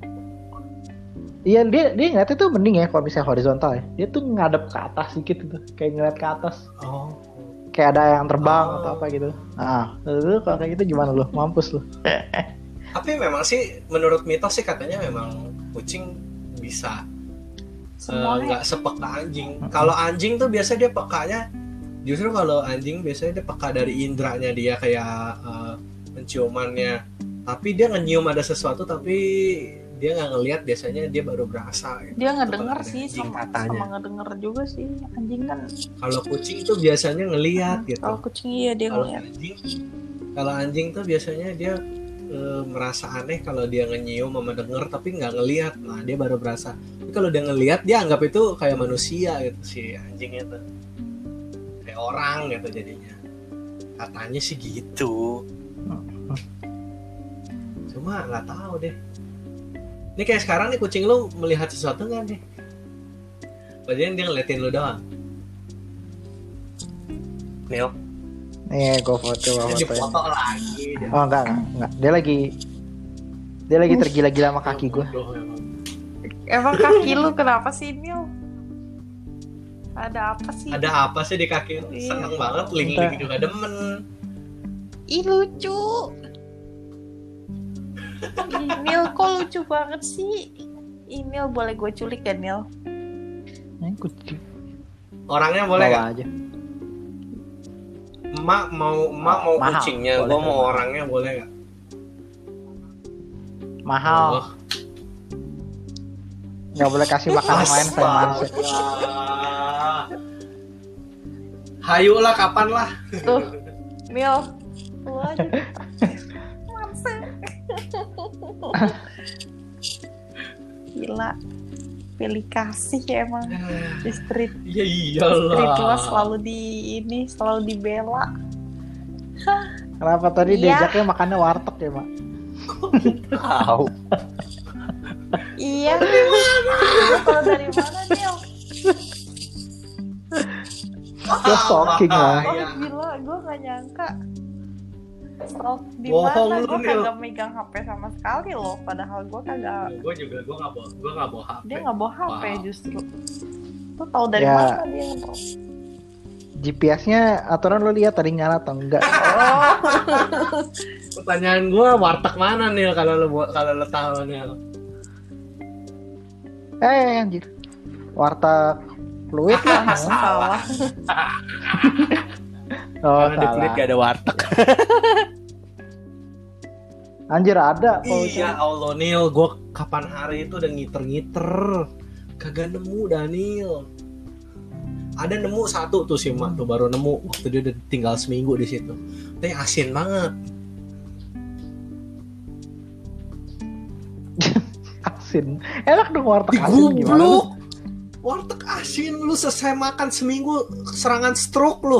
Speaker 3: iya dia dia ngeliatnya tuh mending ya kalau misalnya horizontal ya dia tuh ngadep ke atas dikit gitu kayak ngeliat ke atas
Speaker 2: Oh.
Speaker 3: kayak ada yang terbang
Speaker 2: Oh.
Speaker 3: atau apa gitu ah lu kalau kayak gitu gimana lu mampus lu
Speaker 2: Tapi memang sih menurut mitos sih katanya memang kucing bisa eh,
Speaker 1: Semuanya
Speaker 2: nggak sepeka anjing. Kalau anjing tuh biasa dia pekanya justru kalau anjing biasanya dia peka dari indranya dia kayak eh, penciumannya. Tapi dia nyium ada sesuatu tapi dia nggak ngelihat biasanya dia baru berasa. gitu.
Speaker 1: dia ngedenger
Speaker 2: Seperti
Speaker 1: sih
Speaker 2: anjing
Speaker 1: sama,
Speaker 2: katanya.
Speaker 1: sama ngedenger juga sih anjing kan
Speaker 2: Kalau kucing tuh biasanya ngelihat gitu.
Speaker 1: kalau kucing iya dia
Speaker 2: kalau
Speaker 1: ngeliat
Speaker 2: anjing kalau anjing tuh biasanya dia eh, merasa aneh kalau dia ngenyium sama denger tapi nggak ngelihat nah dia baru berasa tapi kalau dia ngelihat dia anggap itu kayak manusia gitu si anjing itu kayak orang gitu jadinya katanya sih gitu cuma nggak tahu deh ini kayak sekarang nih kucing lu melihat sesuatu nggak nih Padahal dia ngeliatin lu doang Neil,
Speaker 3: nih gua foto ya. gua
Speaker 2: dia
Speaker 3: fotoin.
Speaker 2: foto lagi dia
Speaker 3: oh enggak enggak, enggak dia lagi dia lagi tergila-gila sama kaki gua
Speaker 2: Bodoh emang.
Speaker 1: emang kaki lu kenapa sih Mil ada apa sih
Speaker 2: Ada apa sih di kaki lu?
Speaker 1: Iya.
Speaker 2: Seneng banget, ling-ling juga demen.
Speaker 1: ih lucu Ih, Mil kok lucu banget sih Ih, Mil boleh gue culik kan Mil
Speaker 3: Ini kucing
Speaker 2: Orangnya boleh nggak?
Speaker 3: aja
Speaker 2: Emak mau emak mau
Speaker 3: Mahal.
Speaker 2: kucingnya,
Speaker 3: Boleh,
Speaker 2: gua mau
Speaker 3: mahal.
Speaker 2: orangnya boleh nggak?
Speaker 3: mahal
Speaker 2: Oh.
Speaker 3: nggak boleh kasih makan main sama
Speaker 2: Iya.
Speaker 3: manusia
Speaker 2: Astaga. Hayu lah kapan lah.
Speaker 1: tuh Mil lu aja Manse. pilih kasih ya emang di street
Speaker 2: Iya
Speaker 1: street lo
Speaker 2: iyalah.
Speaker 1: selalu di ini selalu dibela
Speaker 3: Kenapa tadi
Speaker 1: Iya.
Speaker 3: diajaknya makannya warteg ya, Mak?
Speaker 2: Tahu.
Speaker 1: iya Lu tahu dari mana Nil
Speaker 3: Lo stalking
Speaker 1: oh
Speaker 3: lah.
Speaker 2: Iya.
Speaker 1: gila gue gak nyangka Stalk di
Speaker 2: Bohong
Speaker 1: mana
Speaker 2: lu,
Speaker 1: gue
Speaker 2: Nil.
Speaker 1: kagak megang HP sama sekali loh padahal gue kagak
Speaker 2: Gue juga gue nggak bawa gue nggak bawa HP.
Speaker 1: dia nggak bawa HP
Speaker 2: Wow.
Speaker 1: justru lu tahu dari
Speaker 3: Ya.
Speaker 1: mana dia Bro?
Speaker 3: GPS-nya aturan lo lihat tadi nyala atau enggak?
Speaker 2: Pertanyaan gue warteg mana nih kalau lo buat kalau lo tahu nih.
Speaker 3: eh, anjir. Warteg fluid lah.
Speaker 1: salah
Speaker 3: Oh,
Speaker 2: Karena di kulit
Speaker 3: salah.
Speaker 2: gak ada warteg.
Speaker 3: Anjir ada. kalau itu.
Speaker 2: Iya Allah Nil, gue kapan hari itu udah ngiter-ngiter, kagak nemu Daniel. Ada nemu satu tuh si Mak tuh baru nemu waktu dia udah tinggal seminggu di situ. Tapi asin banget.
Speaker 3: Asin. Enak dong warteg asin gimana? tuh?
Speaker 2: Digubluk. Warteg asin lu selesai makan seminggu serangan stroke lu.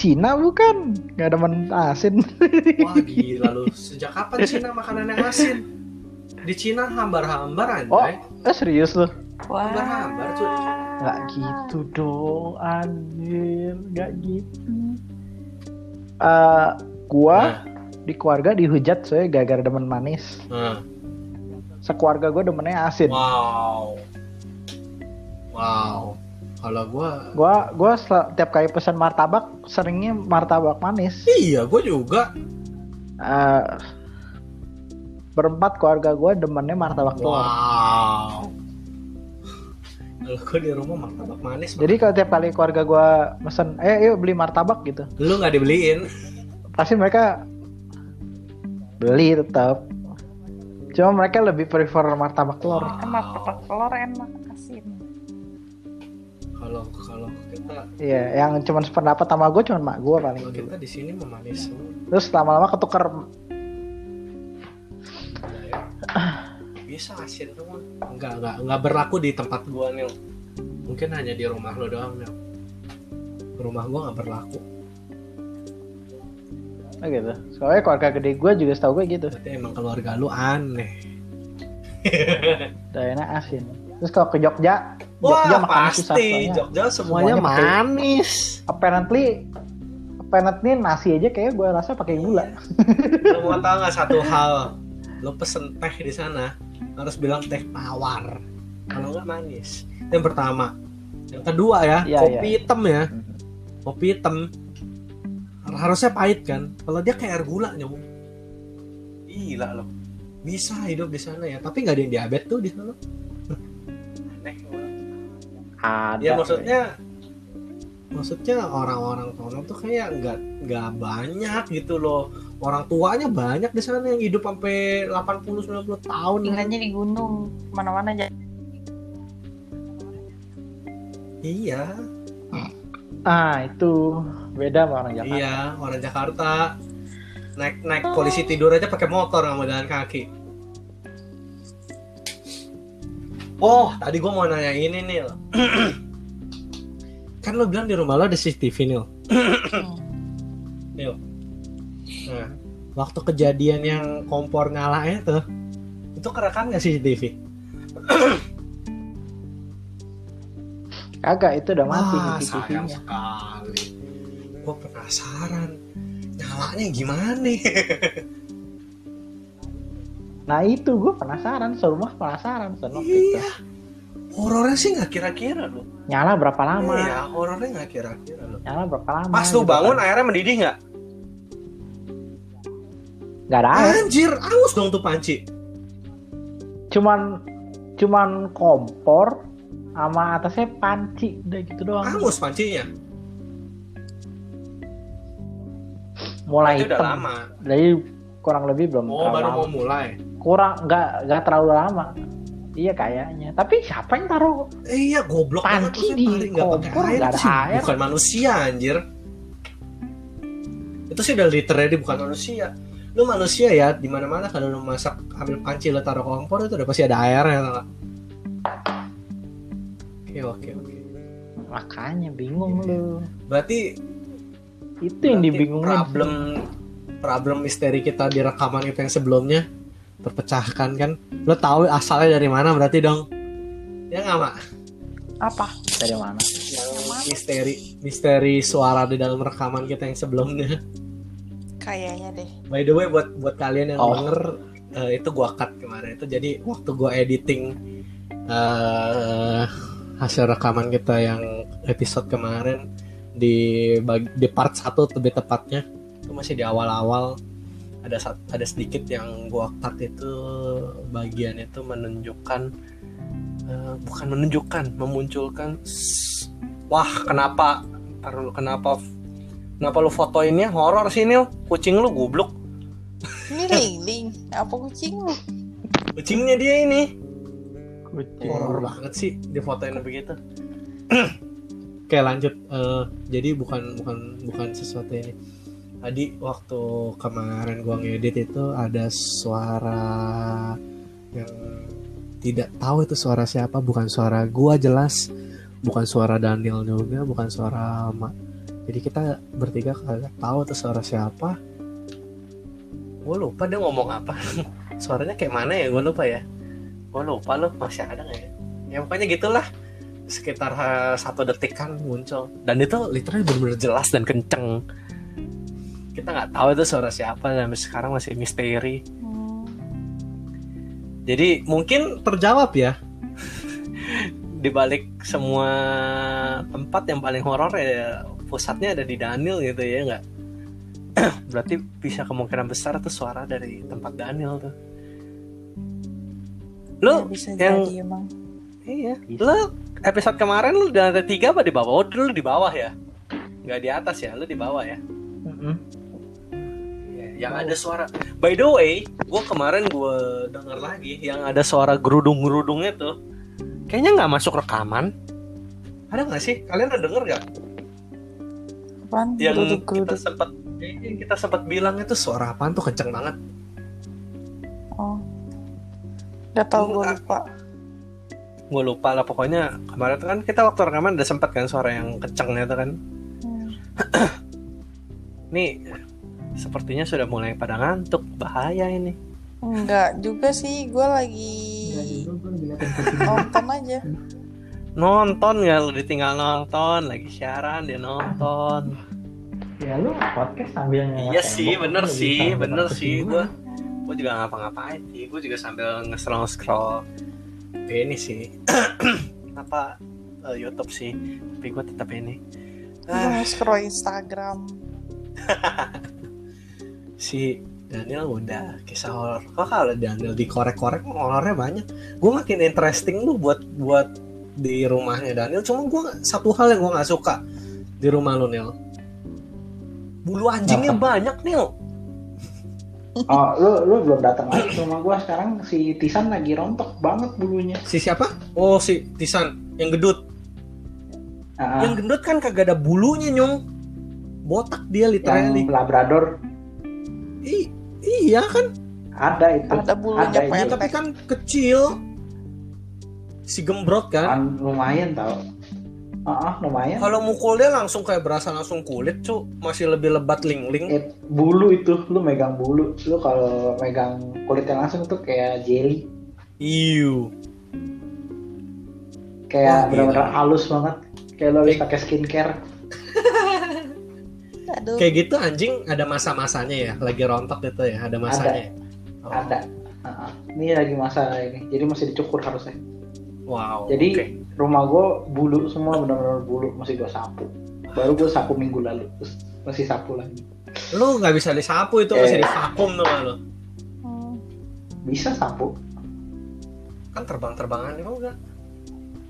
Speaker 3: Cina bukan? Gak ada men asin.
Speaker 2: Wah gila lu. Sejak kapan Cina makanan yang asin? Di Cina hambar-hambar anjay.
Speaker 3: Oh. Eh serius lo?
Speaker 1: wah
Speaker 2: Hambar-hambar, cuy.
Speaker 3: Gak gitu dong, anjir. Gak gitu.
Speaker 1: Hmm.
Speaker 3: Eh, gua
Speaker 2: Nah,
Speaker 3: di keluarga dihujat soalnya gara-gara demen manis.
Speaker 2: nah.
Speaker 3: Sekeluarga gua demennya asin.
Speaker 2: Wow. Wow. Kalau gua
Speaker 3: Gua gua sel- tiap kali pesan martabak seringnya martabak manis.
Speaker 2: Iya, gue juga.
Speaker 3: Eh, berempat keluarga gua demennya martabak telur.
Speaker 2: Wow. Kalau gue di rumah martabak manis,
Speaker 3: Jadi kalau tiap kali keluarga gua mesen, eh yuk beli martabak gitu.
Speaker 2: lu nggak dibeliin.
Speaker 3: Pasti mereka beli tetap. Cuma mereka lebih prefer martabak telur.
Speaker 1: sama petak telur enak asin
Speaker 2: Kalau kalau kita
Speaker 3: Iya, yang cuman sependapat sama gua cuman mak gua paling.
Speaker 2: kalau kita di sini memanis semua.
Speaker 3: Terus lama-lama ketukar Ah.
Speaker 2: Bisa ya? asin doang. Enggak enggak enggak berlaku di tempat gua nih. Mungkin hanya di rumah lo doang nih. Rumah gua nggak berlaku.
Speaker 3: Oh, gitu. Soalnya keluarga gede gua juga setahu gue gitu.
Speaker 2: Berarti emang keluarga lu aneh.
Speaker 3: Dayana asin. Terus kalau ke Jogja, Jogja
Speaker 2: Wah
Speaker 3: makannya Iya, susah
Speaker 2: pasti
Speaker 3: soalnya.
Speaker 2: Jogja semuanya
Speaker 3: semuanya pakai-
Speaker 2: manis.
Speaker 3: apparently apparently nasi aja kayak gue rasa pakai gula
Speaker 2: Iya. lo mau tau nggak satu hal lo pesen teh di sana harus bilang teh tawar kalau nggak manis yang pertama yang kedua ya
Speaker 3: Iya,
Speaker 2: kopi
Speaker 3: iya.
Speaker 2: hitam ya kopi hitam harusnya pahit kan kalau dia kayak air gula nyamuk gila lo bisa hidup di sana ya tapi nggak ada yang diabetes tuh di sana aneh banget.
Speaker 3: ada
Speaker 2: ya maksudnya maksudnya orang-orang kono tuh kayak nggak nggak banyak gitu loh orang tuanya banyak di sana yang hidup sampai 80 90 tahun
Speaker 1: tinggalnya di gunung mana-mana aja
Speaker 2: iya
Speaker 3: ah itu beda sama orang Jakarta
Speaker 2: iya orang Jakarta naik naik polisi tidur aja pakai motor nggak mau jalan kaki oh tadi gua mau nanya ini Nil kan lo bilang di rumah lo ada CCTV Nil Nah, waktu kejadian yang kompor nyalanya tuh, itu kerekam nggak sih TV?
Speaker 3: kagak itu udah mati
Speaker 2: Wah,
Speaker 3: nih
Speaker 2: sayang
Speaker 3: TV-nya
Speaker 2: sekali. Gue penasaran, nyalanya gimana nih?
Speaker 3: nah itu gue penasaran serumah penasaran Sen, waktu itu.
Speaker 2: Iya. horornya sih nggak kira-kira loh.
Speaker 3: nyala berapa lama
Speaker 2: Iya, horornya nggak kira-kira loh.
Speaker 3: nyala berapa lama
Speaker 2: Pas lu
Speaker 3: gitu
Speaker 2: bangun
Speaker 3: kan.
Speaker 2: airnya mendidih nggak?
Speaker 3: nggak ada air.
Speaker 2: Anjir, aus dong tuh panci.
Speaker 3: cuman cuman kompor sama atasnya panci udah gitu doang
Speaker 2: Angus pancinya.
Speaker 3: mulai
Speaker 2: Itu udah
Speaker 3: Nah, hitam
Speaker 2: lama.
Speaker 3: jadi kurang lebih belum
Speaker 2: Oh,
Speaker 3: terlalu
Speaker 2: baru
Speaker 3: lama.
Speaker 2: mau mulai.
Speaker 3: kurang nggak nggak terlalu lama iya kayaknya tapi siapa yang taruh
Speaker 2: Eh, iya, goblok banget
Speaker 3: Panci
Speaker 2: tuh
Speaker 3: di
Speaker 2: nggak pakai
Speaker 3: kompor,
Speaker 2: air
Speaker 3: nggak ada
Speaker 2: sih.
Speaker 3: air.
Speaker 2: Bukan manusia anjir. Itu sih udah literally bukan manusia. lu manusia ya di mana mana kalau lu masak ambil panci lu taruh kompor itu udah pasti ada air ya tau nggak? oke oke oke
Speaker 3: makanya bingung lu
Speaker 2: berarti
Speaker 3: itu yang
Speaker 2: berarti
Speaker 3: dibingungin
Speaker 2: problem problem misteri kita di rekaman itu yang sebelumnya terpecahkan kan lo tahu asalnya dari mana berarti dong ya nggak mak
Speaker 1: apa
Speaker 3: dari mana
Speaker 2: Yang
Speaker 1: mana?
Speaker 2: misteri misteri suara di dalam rekaman kita yang sebelumnya
Speaker 1: kayaknya deh
Speaker 2: By the way buat buat kalian yang
Speaker 3: Oh.
Speaker 2: denger eh, itu gua cut kemarin itu jadi waktu gua editing eh hasil rekaman kita yang episode kemarin di bag- di part 1 lebih tepatnya itu masih di awal-awal ada sat- ada sedikit yang gua cut itu bagian itu menunjukkan eh, bukan menunjukkan memunculkan s- wah kenapa ntar dulu, kenapa kenapa lu fotoinnya horor sih Nil kucing lu goblok
Speaker 1: ini lingling apa kucing lu
Speaker 2: Kucingnya dia ini
Speaker 3: kucing
Speaker 2: Horror banget sih difotoin begitu Oke lanjut Eh, Jadi bukan bukan bukan sesuatu ini Tadi waktu kemarin gua ngedit itu ada suara yang tidak tahu itu suara siapa bukan suara gua jelas bukan suara Daniel juga bukan suara Ma. jadi kita bertiga kagak tahu itu suara siapa gue lupa dia ngomong apa suaranya kayak mana ya gue lupa ya gue lupa lo masih ada nggak ya ya pokoknya gitulah sekitar eh, satu detik kan muncul dan itu literally benar-benar jelas dan kenceng kita nggak tahu itu suara siapa dan sampai sekarang masih misteri jadi mungkin terjawab ya di balik semua tempat yang paling horor ya pusatnya ada di Daniel gitu ya nggak berarti bisa kemungkinan besar tuh suara dari tempat Daniel tuh
Speaker 1: Ya,
Speaker 2: lu
Speaker 1: bisa
Speaker 2: yang-
Speaker 1: jadi emang
Speaker 2: iya
Speaker 3: Bisa.
Speaker 2: lu episode kemarin lu di lantai tiga apa di bawah oh dulu di bawah ya nggak di atas ya lu di bawah ya
Speaker 3: Mm-mm.
Speaker 2: yang ada suara by the way gue kemarin gue denger lagi yang ada suara gerudung gerudungnya tuh kayaknya nggak masuk rekaman ada nggak sih kalian udah denger nggak
Speaker 1: apaan
Speaker 2: yang kita
Speaker 1: geruduk-geruduk
Speaker 2: sempat yang kita sempat bilang itu suara apaan tuh kenceng banget
Speaker 1: oh udah tau gue lupa
Speaker 2: gue lupa lah pokoknya kemarin tuh kan kita waktu rekaman udah sempat kan suara yang kencengnya tuh kan
Speaker 1: Hmm.
Speaker 2: nih sepertinya sudah mulai pada ngantuk bahaya ini
Speaker 1: enggak juga sih gue lagi nonton aja
Speaker 2: nonton nggak lu ditinggal nonton lagi siaran dia nonton
Speaker 3: ya lu podcast sambil
Speaker 2: Iya sih, bener sih, bener sih. Gue gue juga ngapa-ngapain sih. Gue juga sambil nge-scroll scroll ini sih. apa eh, YouTube sih? Tapi gue tetap ini.
Speaker 1: Gua
Speaker 2: Ah,
Speaker 1: scroll Instagram
Speaker 2: si Daniel udah kisah horor. Kok kalau Daniel dikorek-korek horornya banyak. Gue makin interesting lu buat buat di rumahnya Daniel. Cuma gue satu hal yang gue nggak suka di rumah lu Nil. Bulu anjingnya banyak Nil.
Speaker 3: oh lu lu belum datang lagi ke rumah gua sekarang si Tisan lagi rontok banget bulunya
Speaker 2: Si siapa? Oh si Tisan yang gedut.
Speaker 3: Ah, ah,
Speaker 2: Yang gendut kan kagak ada bulunya nyong. Botak dia
Speaker 3: yang
Speaker 2: literally.
Speaker 3: Labrador
Speaker 2: I- iya kan,
Speaker 3: ada itu
Speaker 1: ada bulunya
Speaker 3: Ada, iya,
Speaker 1: pendek
Speaker 2: tapi kan kecil. Si gembrot kan.
Speaker 3: An- lumayan tau ah ah, lumayan
Speaker 2: Kalau mukul dia langsung kayak berasa langsung kulit cu, masih lebih lebat lingling.
Speaker 3: Eh, bulu itu lu megang bulu lu kalau megang kulitnya langsung tuh kayak jelly
Speaker 2: Iu. Wah,
Speaker 3: kayak benar-benar
Speaker 2: gila.
Speaker 3: halus banget kayak lu
Speaker 2: Eh.
Speaker 3: habis pakai skincare
Speaker 1: aduh
Speaker 2: Kayak gitu anjing ada masa-masanya ya, lagi rontok gitu ya, ada masanya. ya? Oh,
Speaker 3: ada Ah, ah. ini lagi masalah ini jadi masih dicukur harusnya
Speaker 2: Wow.
Speaker 3: Jadi
Speaker 2: oke.
Speaker 3: rumah gue bulu semua benar-benar bulu masih gue sapu. Baru gue sapu minggu lalu terus masih sapu lagi.
Speaker 2: lu nggak bisa disapu itu
Speaker 3: Eh.
Speaker 2: masih divakum tuh lu.
Speaker 1: Hmm,
Speaker 3: Bisa sapu?
Speaker 2: Kan terbang-terbangan emang enggak?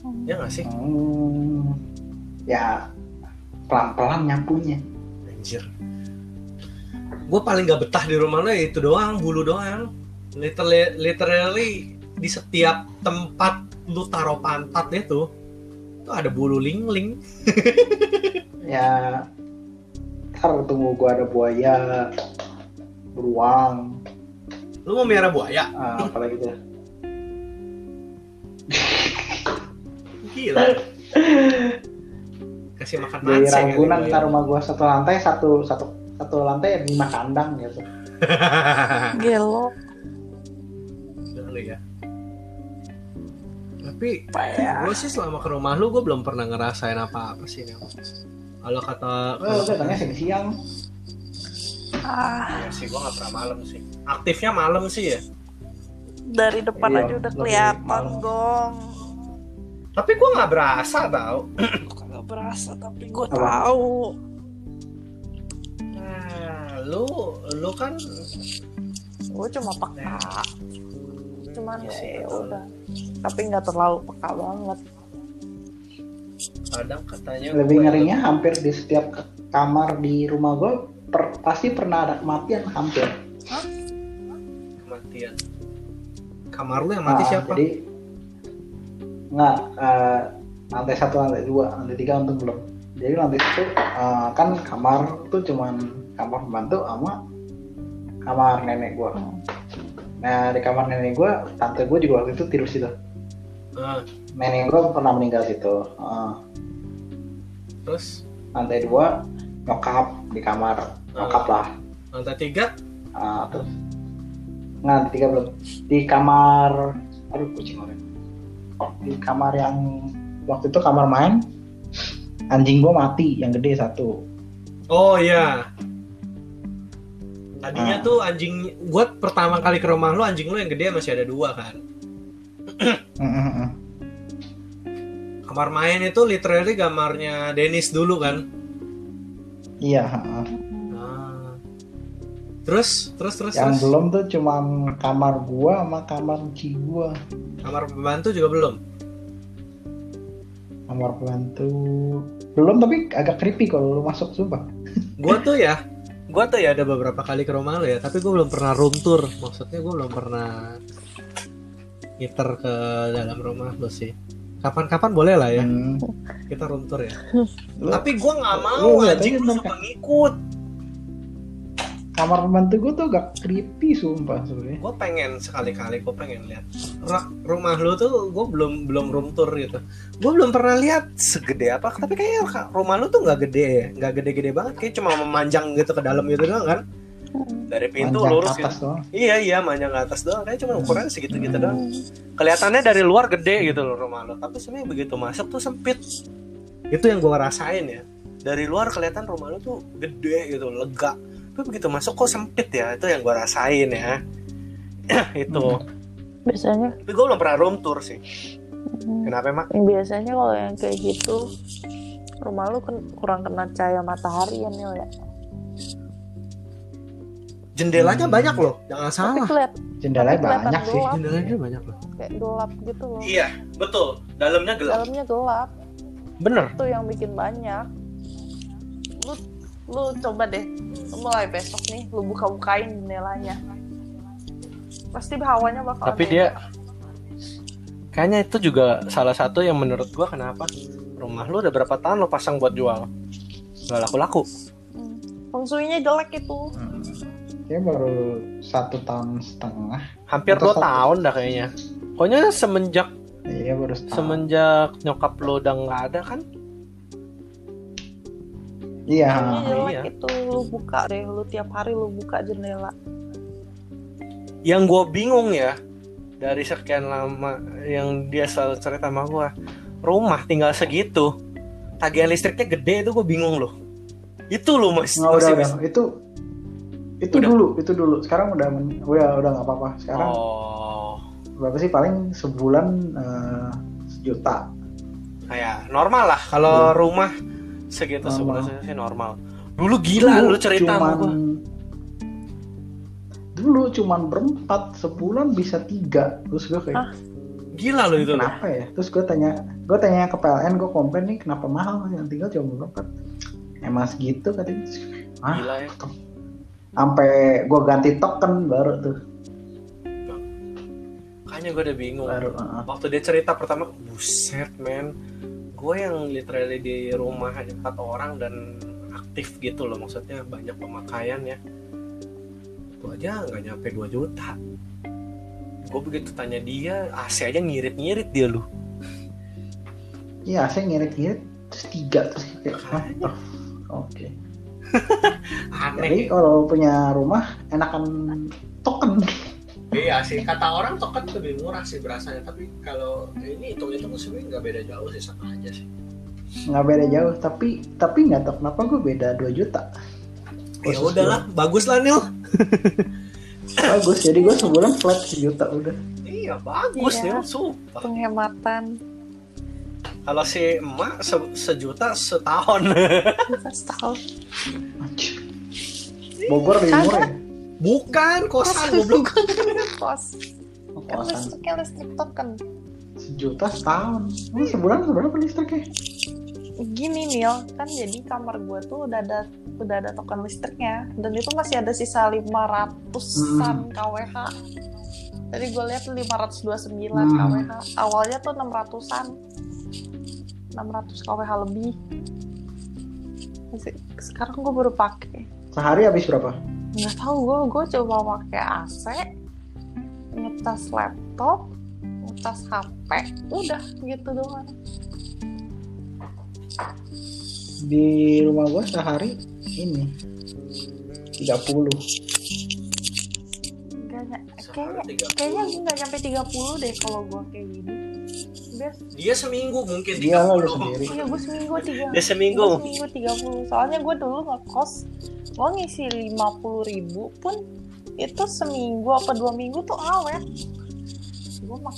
Speaker 1: hmm.
Speaker 2: Ya nggak sih?
Speaker 3: Hmm, ya pelan-pelan nyapunya.
Speaker 2: Anjir. Gue paling gak betah di rumah lo ya itu doang, bulu doang. Literally, literally di setiap tempat lu taruh pantat itu, itu ada bulu lingling.
Speaker 3: Ya ntar tunggu gue ada buaya beruang,
Speaker 4: Lu mau miara buaya?
Speaker 3: ah, apalagi tuh.
Speaker 4: Gila. Kasih makan
Speaker 3: Dari
Speaker 4: mancing. kali
Speaker 3: Ragunan
Speaker 4: gua
Speaker 3: ntar
Speaker 4: ya.
Speaker 3: rumah gua satu lantai satu satu satu lantai ada lima kandang gitu.
Speaker 4: Oh.
Speaker 1: Gelo.
Speaker 4: Udah lu ya. Tapi
Speaker 1: Payah.
Speaker 3: Ya.
Speaker 4: gue sih selama ke rumah lu gue belum pernah ngerasain apa-apa sih Nel. Kalau kata
Speaker 3: Oh, udah tanya siang siang.
Speaker 1: Ah,
Speaker 2: Iya sih, gua nggak pernah malam sih.
Speaker 4: aktifnya malam sih ya.
Speaker 1: dari depan
Speaker 3: Iya,
Speaker 1: aja udah
Speaker 3: lebih
Speaker 1: kelihatan,
Speaker 3: malam.
Speaker 1: Gong.
Speaker 4: Tapi gue nggak berasa tau.
Speaker 1: Kagak berasa tapi gue
Speaker 3: Apa?
Speaker 1: tahu.
Speaker 4: Nah, lu lu kan ya.
Speaker 1: Gue cuma peka. Cuman
Speaker 2: Iya sih,
Speaker 1: ya
Speaker 2: betul.
Speaker 4: kan.
Speaker 1: udah. Tapi nggak terlalu peka banget.
Speaker 2: Kadang katanya
Speaker 4: Ya,
Speaker 3: Lebih
Speaker 2: gua-
Speaker 3: ngerinya hampir di setiap ke- kamar di rumah gua per- pasti pernah ada kematian hampir.
Speaker 2: kematian.
Speaker 4: kamar lu yang mati
Speaker 3: Ah,
Speaker 4: siapa?
Speaker 3: Jadi nggak eh, lantai satu, lantai dua, lantai tiga untung belum. Jadi lantai satu eh, kan kamar tuh cuman kamar pembantu sama kamar nenek gua.
Speaker 4: Hmm.
Speaker 3: Nah di kamar nenek gua, tante gua juga waktu itu tidur situ.
Speaker 4: Ah,
Speaker 3: Nenek gua pernah meninggal situ. Eh,
Speaker 4: terus
Speaker 3: lantai dua nyokap di kamar nyokap lah.
Speaker 4: lantai tiga
Speaker 3: Eh, terus nggak lantai tiga belum di kamar aduh kucing orang di kamar yang waktu itu kamar main anjing gua mati yang gede satu
Speaker 4: Oh iya. Tadinya
Speaker 3: Ah.
Speaker 4: tuh anjing gua pertama kali ke rumah lu anjing lu yang gede masih ada dua kan.
Speaker 3: Mm-mm-mm.
Speaker 4: Kamar main itu literally kamarnya Dennis dulu kan.
Speaker 3: iya heeh.
Speaker 4: Ah. Terus terus terus
Speaker 3: yang
Speaker 4: terus.
Speaker 3: belum tuh cuman kamar gua sama kamar ci gua
Speaker 4: Kamar pembantu juga belum.
Speaker 3: kamar pembantu belum tapi agak creepy kalau lu masuk sumpah
Speaker 4: Gua tuh ya, gua tuh ya ada beberapa kali ke rumah lu ya, tapi gua belum pernah room tour. Maksudnya gua belum pernah ngiter ke dalam rumah lu sih. Kapan-kapan boleh lah ya,
Speaker 3: Hmm.
Speaker 4: kita room tour ya.
Speaker 3: Lu-
Speaker 4: Tapi gua nggak mau
Speaker 3: lu lihat
Speaker 4: anjing
Speaker 3: aja
Speaker 4: lu
Speaker 3: ntar,
Speaker 4: suka ngikut.
Speaker 3: kamar pembantu gua tuh agak creepy sumpah sebenarnya
Speaker 4: gue pengen sekali-kali gue pengen lihat Ra- rumah lu tuh gue belum belum room tour gitu gue belum pernah lihat segede apa tapi kayaknya ra- rumah lu tuh nggak gede ya nggak gede-gede banget kayak cuma memanjang gitu ke dalam gitu doang kan
Speaker 2: Dari pintu
Speaker 3: panjang
Speaker 2: lurus
Speaker 3: ke atas doang
Speaker 2: gitu. Iya iya, manjang ke atas doang. Kayak cuma ukurannya segitu gitu doang. Kelihatannya dari luar gede gitu loh rumah lo, tapi sebenarnya begitu masuk tuh sempit.
Speaker 4: itu yang gue rasain ya
Speaker 2: Dari luar kelihatan rumah lo tuh gede gitu, lega. Tapi begitu masuk kok sempit ya, itu yang gua rasain ya. itu.
Speaker 1: Biasanya
Speaker 2: Tapi gua belum pernah room tour sih.
Speaker 1: hmm,
Speaker 2: Kenapa emang?
Speaker 1: biasanya kalau yang kayak gitu rumah lu ken- kurang kena cahaya matahari ya Nil ya.
Speaker 4: jendelanya
Speaker 3: Hmm.
Speaker 4: banyak loh jangan
Speaker 1: Tapi
Speaker 4: salah
Speaker 1: keliat,
Speaker 3: jendelanya
Speaker 1: Tapi kelihatan
Speaker 3: Eh, banyak sih
Speaker 1: doang.
Speaker 4: jendelanya banyak loh
Speaker 1: kayak gelap gitu loh.
Speaker 2: Iya, betul. Dalamnya gelap.
Speaker 1: Dalamnya gelap.
Speaker 4: bener
Speaker 1: itu yang bikin banyak lu lu coba deh lu mulai besok nih lu buka-bukain jendelanya pasti hawanya bakal
Speaker 2: Tapi
Speaker 3: ya?
Speaker 2: dia kayaknya itu juga salah satu yang menurut gua kenapa rumah lu udah berapa tahun lo pasang buat jual nggak laku-laku
Speaker 1: fungsinya Hmm. jelek itu
Speaker 3: Kayaknya baru satu tahun setengah.
Speaker 2: hampir
Speaker 3: Atau
Speaker 2: dua
Speaker 3: satu.
Speaker 2: tahun dah kayaknya pokoknya semenjak
Speaker 3: Iya baru setahun.
Speaker 2: semenjak nyokap lo udah nggak ada kan
Speaker 3: iya.
Speaker 1: fungsinya jelek
Speaker 2: iya.
Speaker 1: itu lu buka deh lu tiap hari lu buka jendela
Speaker 2: yang gue bingung ya dari sekian lama yang dia selalu cerita sama gue rumah tinggal segitu tagihan listriknya gede itu gue bingung loh itu lo mas
Speaker 3: Nggak, udah
Speaker 2: masih
Speaker 3: udah
Speaker 2: bisa-
Speaker 3: itu itu
Speaker 2: Udah.
Speaker 3: dulu itu dulu. Sekarang udah men- oh ya, udah udah nggak apa-apa. Sekarang
Speaker 2: oh
Speaker 3: berapa sih paling sebulan eh, sejuta.
Speaker 2: kayak normal lah kalau
Speaker 3: Hmm.
Speaker 2: rumah segitu
Speaker 3: Normal.
Speaker 2: sebelas sih normal dulu gila lu cerita sama
Speaker 3: cuman
Speaker 2: gue
Speaker 3: dulu cuman berempat sebulan bisa tiga terus gue kayak
Speaker 1: Hah?
Speaker 4: gila loh itu loh
Speaker 3: kenapa ya terus gue tanya gue tanya ke PLN gue komplain nih kenapa mahal yang tinggal cuma berempat emang segitu katanya Terus gue, ah
Speaker 2: gila ya
Speaker 3: sampai gue ganti token baru tuh
Speaker 2: kayaknya gue udah bingung
Speaker 3: baru uh,
Speaker 2: waktu dia cerita pertama buset men gue yang literally di rumah ada empat orang dan aktif gitu loh maksudnya banyak pemakaian ya
Speaker 5: satu aja nggak nyampe 2 juta gue begitu tanya dia AC aja ngirit-ngirit dia lu
Speaker 3: Iya, saya ngirit-ngirit terus tiga terus kayak "Hah? Oh, Oke. Jadi
Speaker 5: aneh
Speaker 3: kalau punya rumah enakan kan. token.
Speaker 2: Iya sih, kata orang token lebih murah sih berasanya, tapi kalau ini hitung-hitung sebenarnya nggak beda jauh sih sama aja sih.
Speaker 3: nggak beda jauh tapi tapi nggak tahu kenapa gue beda 2 juta
Speaker 2: Ya udahlah, bagus lah Nil.
Speaker 3: bagus jadi gue sebulan flat sejuta udah
Speaker 2: Iya bagus
Speaker 1: Iya.
Speaker 2: Nil, sumpah.
Speaker 1: penghematan
Speaker 2: Kalau si emak se- sejuta setahun.
Speaker 1: setahun
Speaker 3: Anjir. Bogor lebih murah ya?
Speaker 2: Bukan kosan goblok.
Speaker 1: kos
Speaker 3: Oh,
Speaker 1: kan
Speaker 3: kosan
Speaker 1: listriknya listrik token
Speaker 3: sejuta setahun Emang sebulan seberapa listriknya
Speaker 1: gini Nil kan jadi kamar gue tuh udah ada udah ada token listriknya dan itu masih ada sisa 500an kWh tadi gue lihat 529
Speaker 3: Hmm.
Speaker 1: kWh awalnya tuh 600an 600 kWh lebih Masih- sekarang gue baru pakai
Speaker 3: sehari habis berapa
Speaker 1: nggak tahu gue gue coba pakai AC ngetas laptop ngetas HP udah gitu doang
Speaker 3: di rumah gue sehari ini 30
Speaker 1: Nggak ny-
Speaker 2: Sehari
Speaker 1: kayaknya
Speaker 2: 30.
Speaker 1: kayaknya gue nggak nyampe 30 deh kalau gue kayak gini bias
Speaker 2: Dia seminggu mungkin
Speaker 3: dia lah lu
Speaker 2: 30.
Speaker 3: sendiri
Speaker 1: iya gue seminggu tiga
Speaker 5: dia
Speaker 1: gue
Speaker 5: seminggu
Speaker 1: seminggu 30 soalnya gue dulu ngekos gue ngisi 50 ribu pun itu seminggu apa dua minggu tuh awet gue mah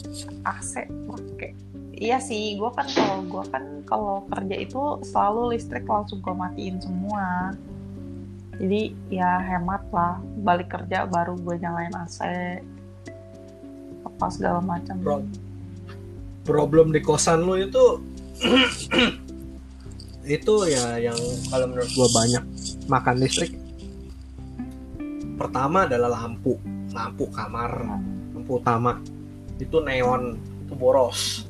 Speaker 1: AC pakai iya sih gue kan kalau gue kan kalau kerja itu selalu listrik langsung gue matiin semua jadi ya hemat lah balik kerja baru gue nyalain AC apa segala macam
Speaker 2: Bro. Problem di kosan lu itu itu ya yang kalau menurut gua banyak makan listrik. Pertama adalah lampu, lampu kamar, lampu utama. Itu neon, itu boros.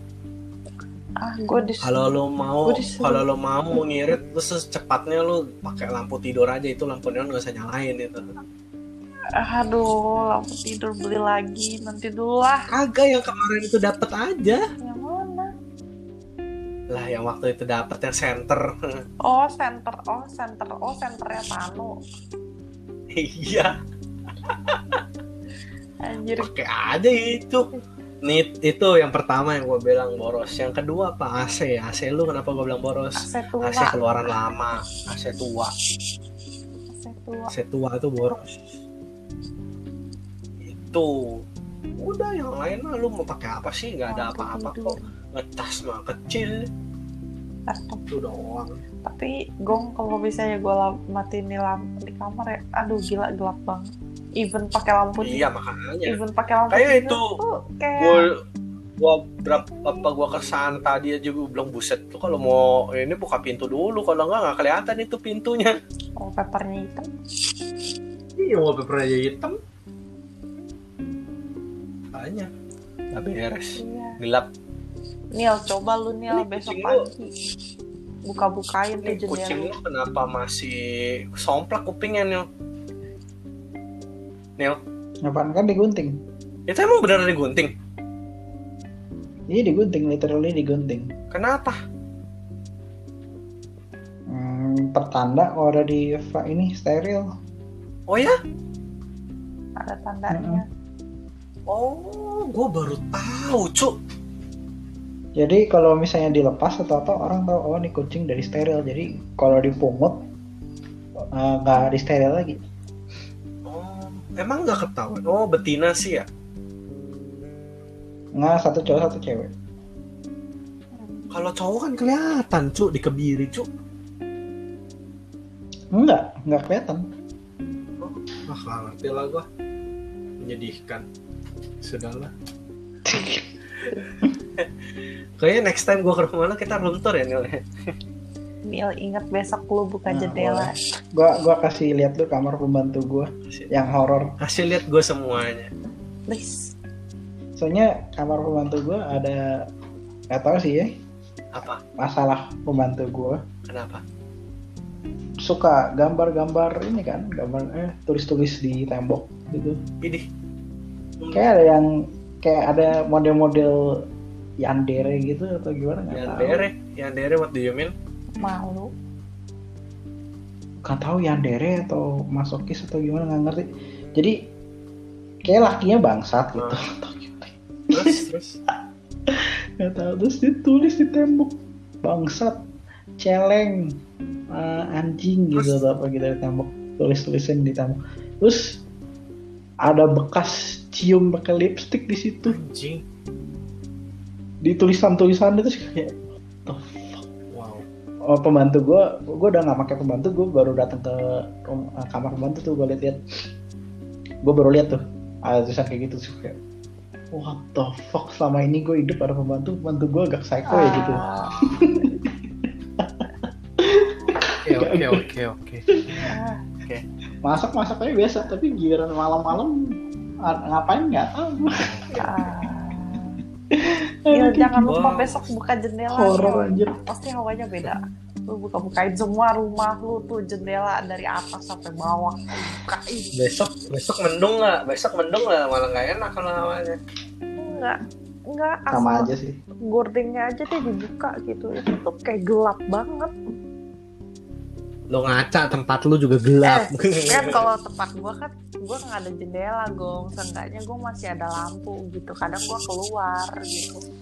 Speaker 1: ah gue dis
Speaker 2: kalau lo mau
Speaker 1: Gua disuruh.
Speaker 2: kalau lo mau ngirit terus secepatnya lo pakai lampu tidur aja itu lampu neon gak usah nyalain gitu. itu
Speaker 1: aduh lampu tidur beli lagi nanti dulu lah
Speaker 2: kagak yang kemarin itu dapet aja
Speaker 1: yang mana
Speaker 2: lah yang waktu itu dapet yang center
Speaker 1: Oh, center. Oh, center. Oh, senternya Tano.
Speaker 2: iya
Speaker 1: Anjir.
Speaker 2: pakai aja itu nit itu yang pertama yang gue bilang boros yang kedua apa AC AC lu kenapa gue bilang boros
Speaker 1: AC tua.
Speaker 2: AC keluaran lama AC tua
Speaker 1: AC tua.
Speaker 2: AC tua itu boros itu udah yang lain mah lu mau pakai apa sih nggak ada
Speaker 1: Lampu
Speaker 2: apa-apa
Speaker 1: tidur.
Speaker 2: kok ngetas mah kecil
Speaker 1: Ah,
Speaker 2: itu doang
Speaker 1: Tapi gong kalau bisa ya gue matiin di lampu di kamar ya. Aduh, gila gelap banget. Even pakai lampu
Speaker 2: iya makanya
Speaker 1: Even pakai lampu
Speaker 2: Kayak
Speaker 1: tidur
Speaker 2: itu.
Speaker 1: tuh kayak
Speaker 5: gua gua berapa apa gua kesan tadi aja gua bilang buset tuh kalau mau ini buka pintu dulu kalau enggak nggak kelihatan itu pintunya
Speaker 1: oh, papernya hitam.
Speaker 2: iya wallpaper aja hitam banyak
Speaker 5: nggak beres
Speaker 1: Iya.
Speaker 5: gelap
Speaker 1: Nil, coba lu Nil
Speaker 5: Ini
Speaker 1: besok
Speaker 5: kucing lu.
Speaker 1: pagi buka-bukain tuh
Speaker 5: ini kucing
Speaker 1: jendela.
Speaker 5: lu kenapa masih somplak kupingnya Nil
Speaker 3: apaan kan digunting
Speaker 2: Ya,
Speaker 5: itu emang beneran digunting
Speaker 3: ini Iya, digunting literally digunting
Speaker 5: kenapa
Speaker 3: hmm, pertanda kalau ada di fa- ini steril
Speaker 5: oh ya
Speaker 1: Ada tandanya.
Speaker 2: oh gue baru tahu cuk
Speaker 3: Jadi kalau misalnya dilepas atau apa orang tahu oh ini kucing dari steril. Jadi kalau dipungut eh, nggak di steril lagi.
Speaker 2: oh
Speaker 5: emang
Speaker 2: emang
Speaker 5: nggak ketahuan oh betina sih ya
Speaker 3: Nggak satu cowok satu cewek.
Speaker 2: kalau cowok kan kelihatan cuk dikebiri cuk
Speaker 3: Nggak nggak kelihatan.
Speaker 2: ah nggak ngerti lah gue menyedihkan sudahlah Kayaknya next time gue ke rumah lo kita room tour ya Nil ya?
Speaker 1: Nil, ingat besok lu buka
Speaker 3: Nah,
Speaker 1: jendela.
Speaker 3: Gua gua kasih lihat tuh kamar pembantu gua yang horor.
Speaker 2: Hasil lihat gue semuanya
Speaker 1: Please.
Speaker 3: Soalnya kamar pembantu gua ada nggak tahu sih ya
Speaker 2: Apa?
Speaker 3: masalah pembantu gua.
Speaker 2: Kenapa?
Speaker 3: suka gambar-gambar ini kan gambar eh tulis-tulis di tembok gitu
Speaker 2: Ini.
Speaker 3: kayak ada yang kayak ada model-model yandere gitu atau gimana nggak tahu
Speaker 2: Yandere, Yandere E, what do you mean?
Speaker 1: malu
Speaker 3: nggak tahu yandere atau masokis atau gimana nggak ngerti jadi kayak lakinya bangsat gitu atau gimana.
Speaker 2: Terus, terus.
Speaker 3: nggak tahu terus ditulis di tembok bangsat celeng eh, anjing gitu atau apa gitu di tembok tulis tulisan di tembok terus ada bekas cium pakai lipstick di situ
Speaker 2: Anjing.
Speaker 3: di tulisan-tulisan itu sih kayak
Speaker 2: Wow.
Speaker 3: oh, pembantu gue gue udah nggak pakai pembantu gue baru datang ke rum- eh, kamar pembantu tuh gue lihat gue baru lihat tuh ada tulisan kayak gitu sih kayak what the fuck selama ini gue hidup ada pembantu pembantu gue agak psycho ya gitu
Speaker 1: Ah.
Speaker 2: Oke, oke, oke, oke.
Speaker 1: Ah,
Speaker 3: masak masak aja biasa tapi giliran malam-malam a- ngapain nggak tahu
Speaker 1: ah. Gil, Iya, jangan lupa
Speaker 2: Wow.
Speaker 1: besok buka jendela
Speaker 3: Ya, gitu. horor
Speaker 1: Gil.
Speaker 3: anjir
Speaker 1: pasti hawanya beda lu buka-bukain semua rumah lu tuh jendela dari atas sampai bawah Lu bukain
Speaker 2: Besok, besok mendung nggak? Besok mendung nggak? Malah nggak enak kalau awalnya.
Speaker 1: enggak enggak
Speaker 3: sama
Speaker 1: asal
Speaker 3: aja sih
Speaker 1: gordengnya aja deh dibuka gitu itu tuh kayak gelap banget
Speaker 6: Lo ngaca tempat lu juga gelap.
Speaker 1: kan kalau tempat gua kan gua nggak ada jendela gong seenggaknya gua masih ada lampu gitu kadang gua keluar gitu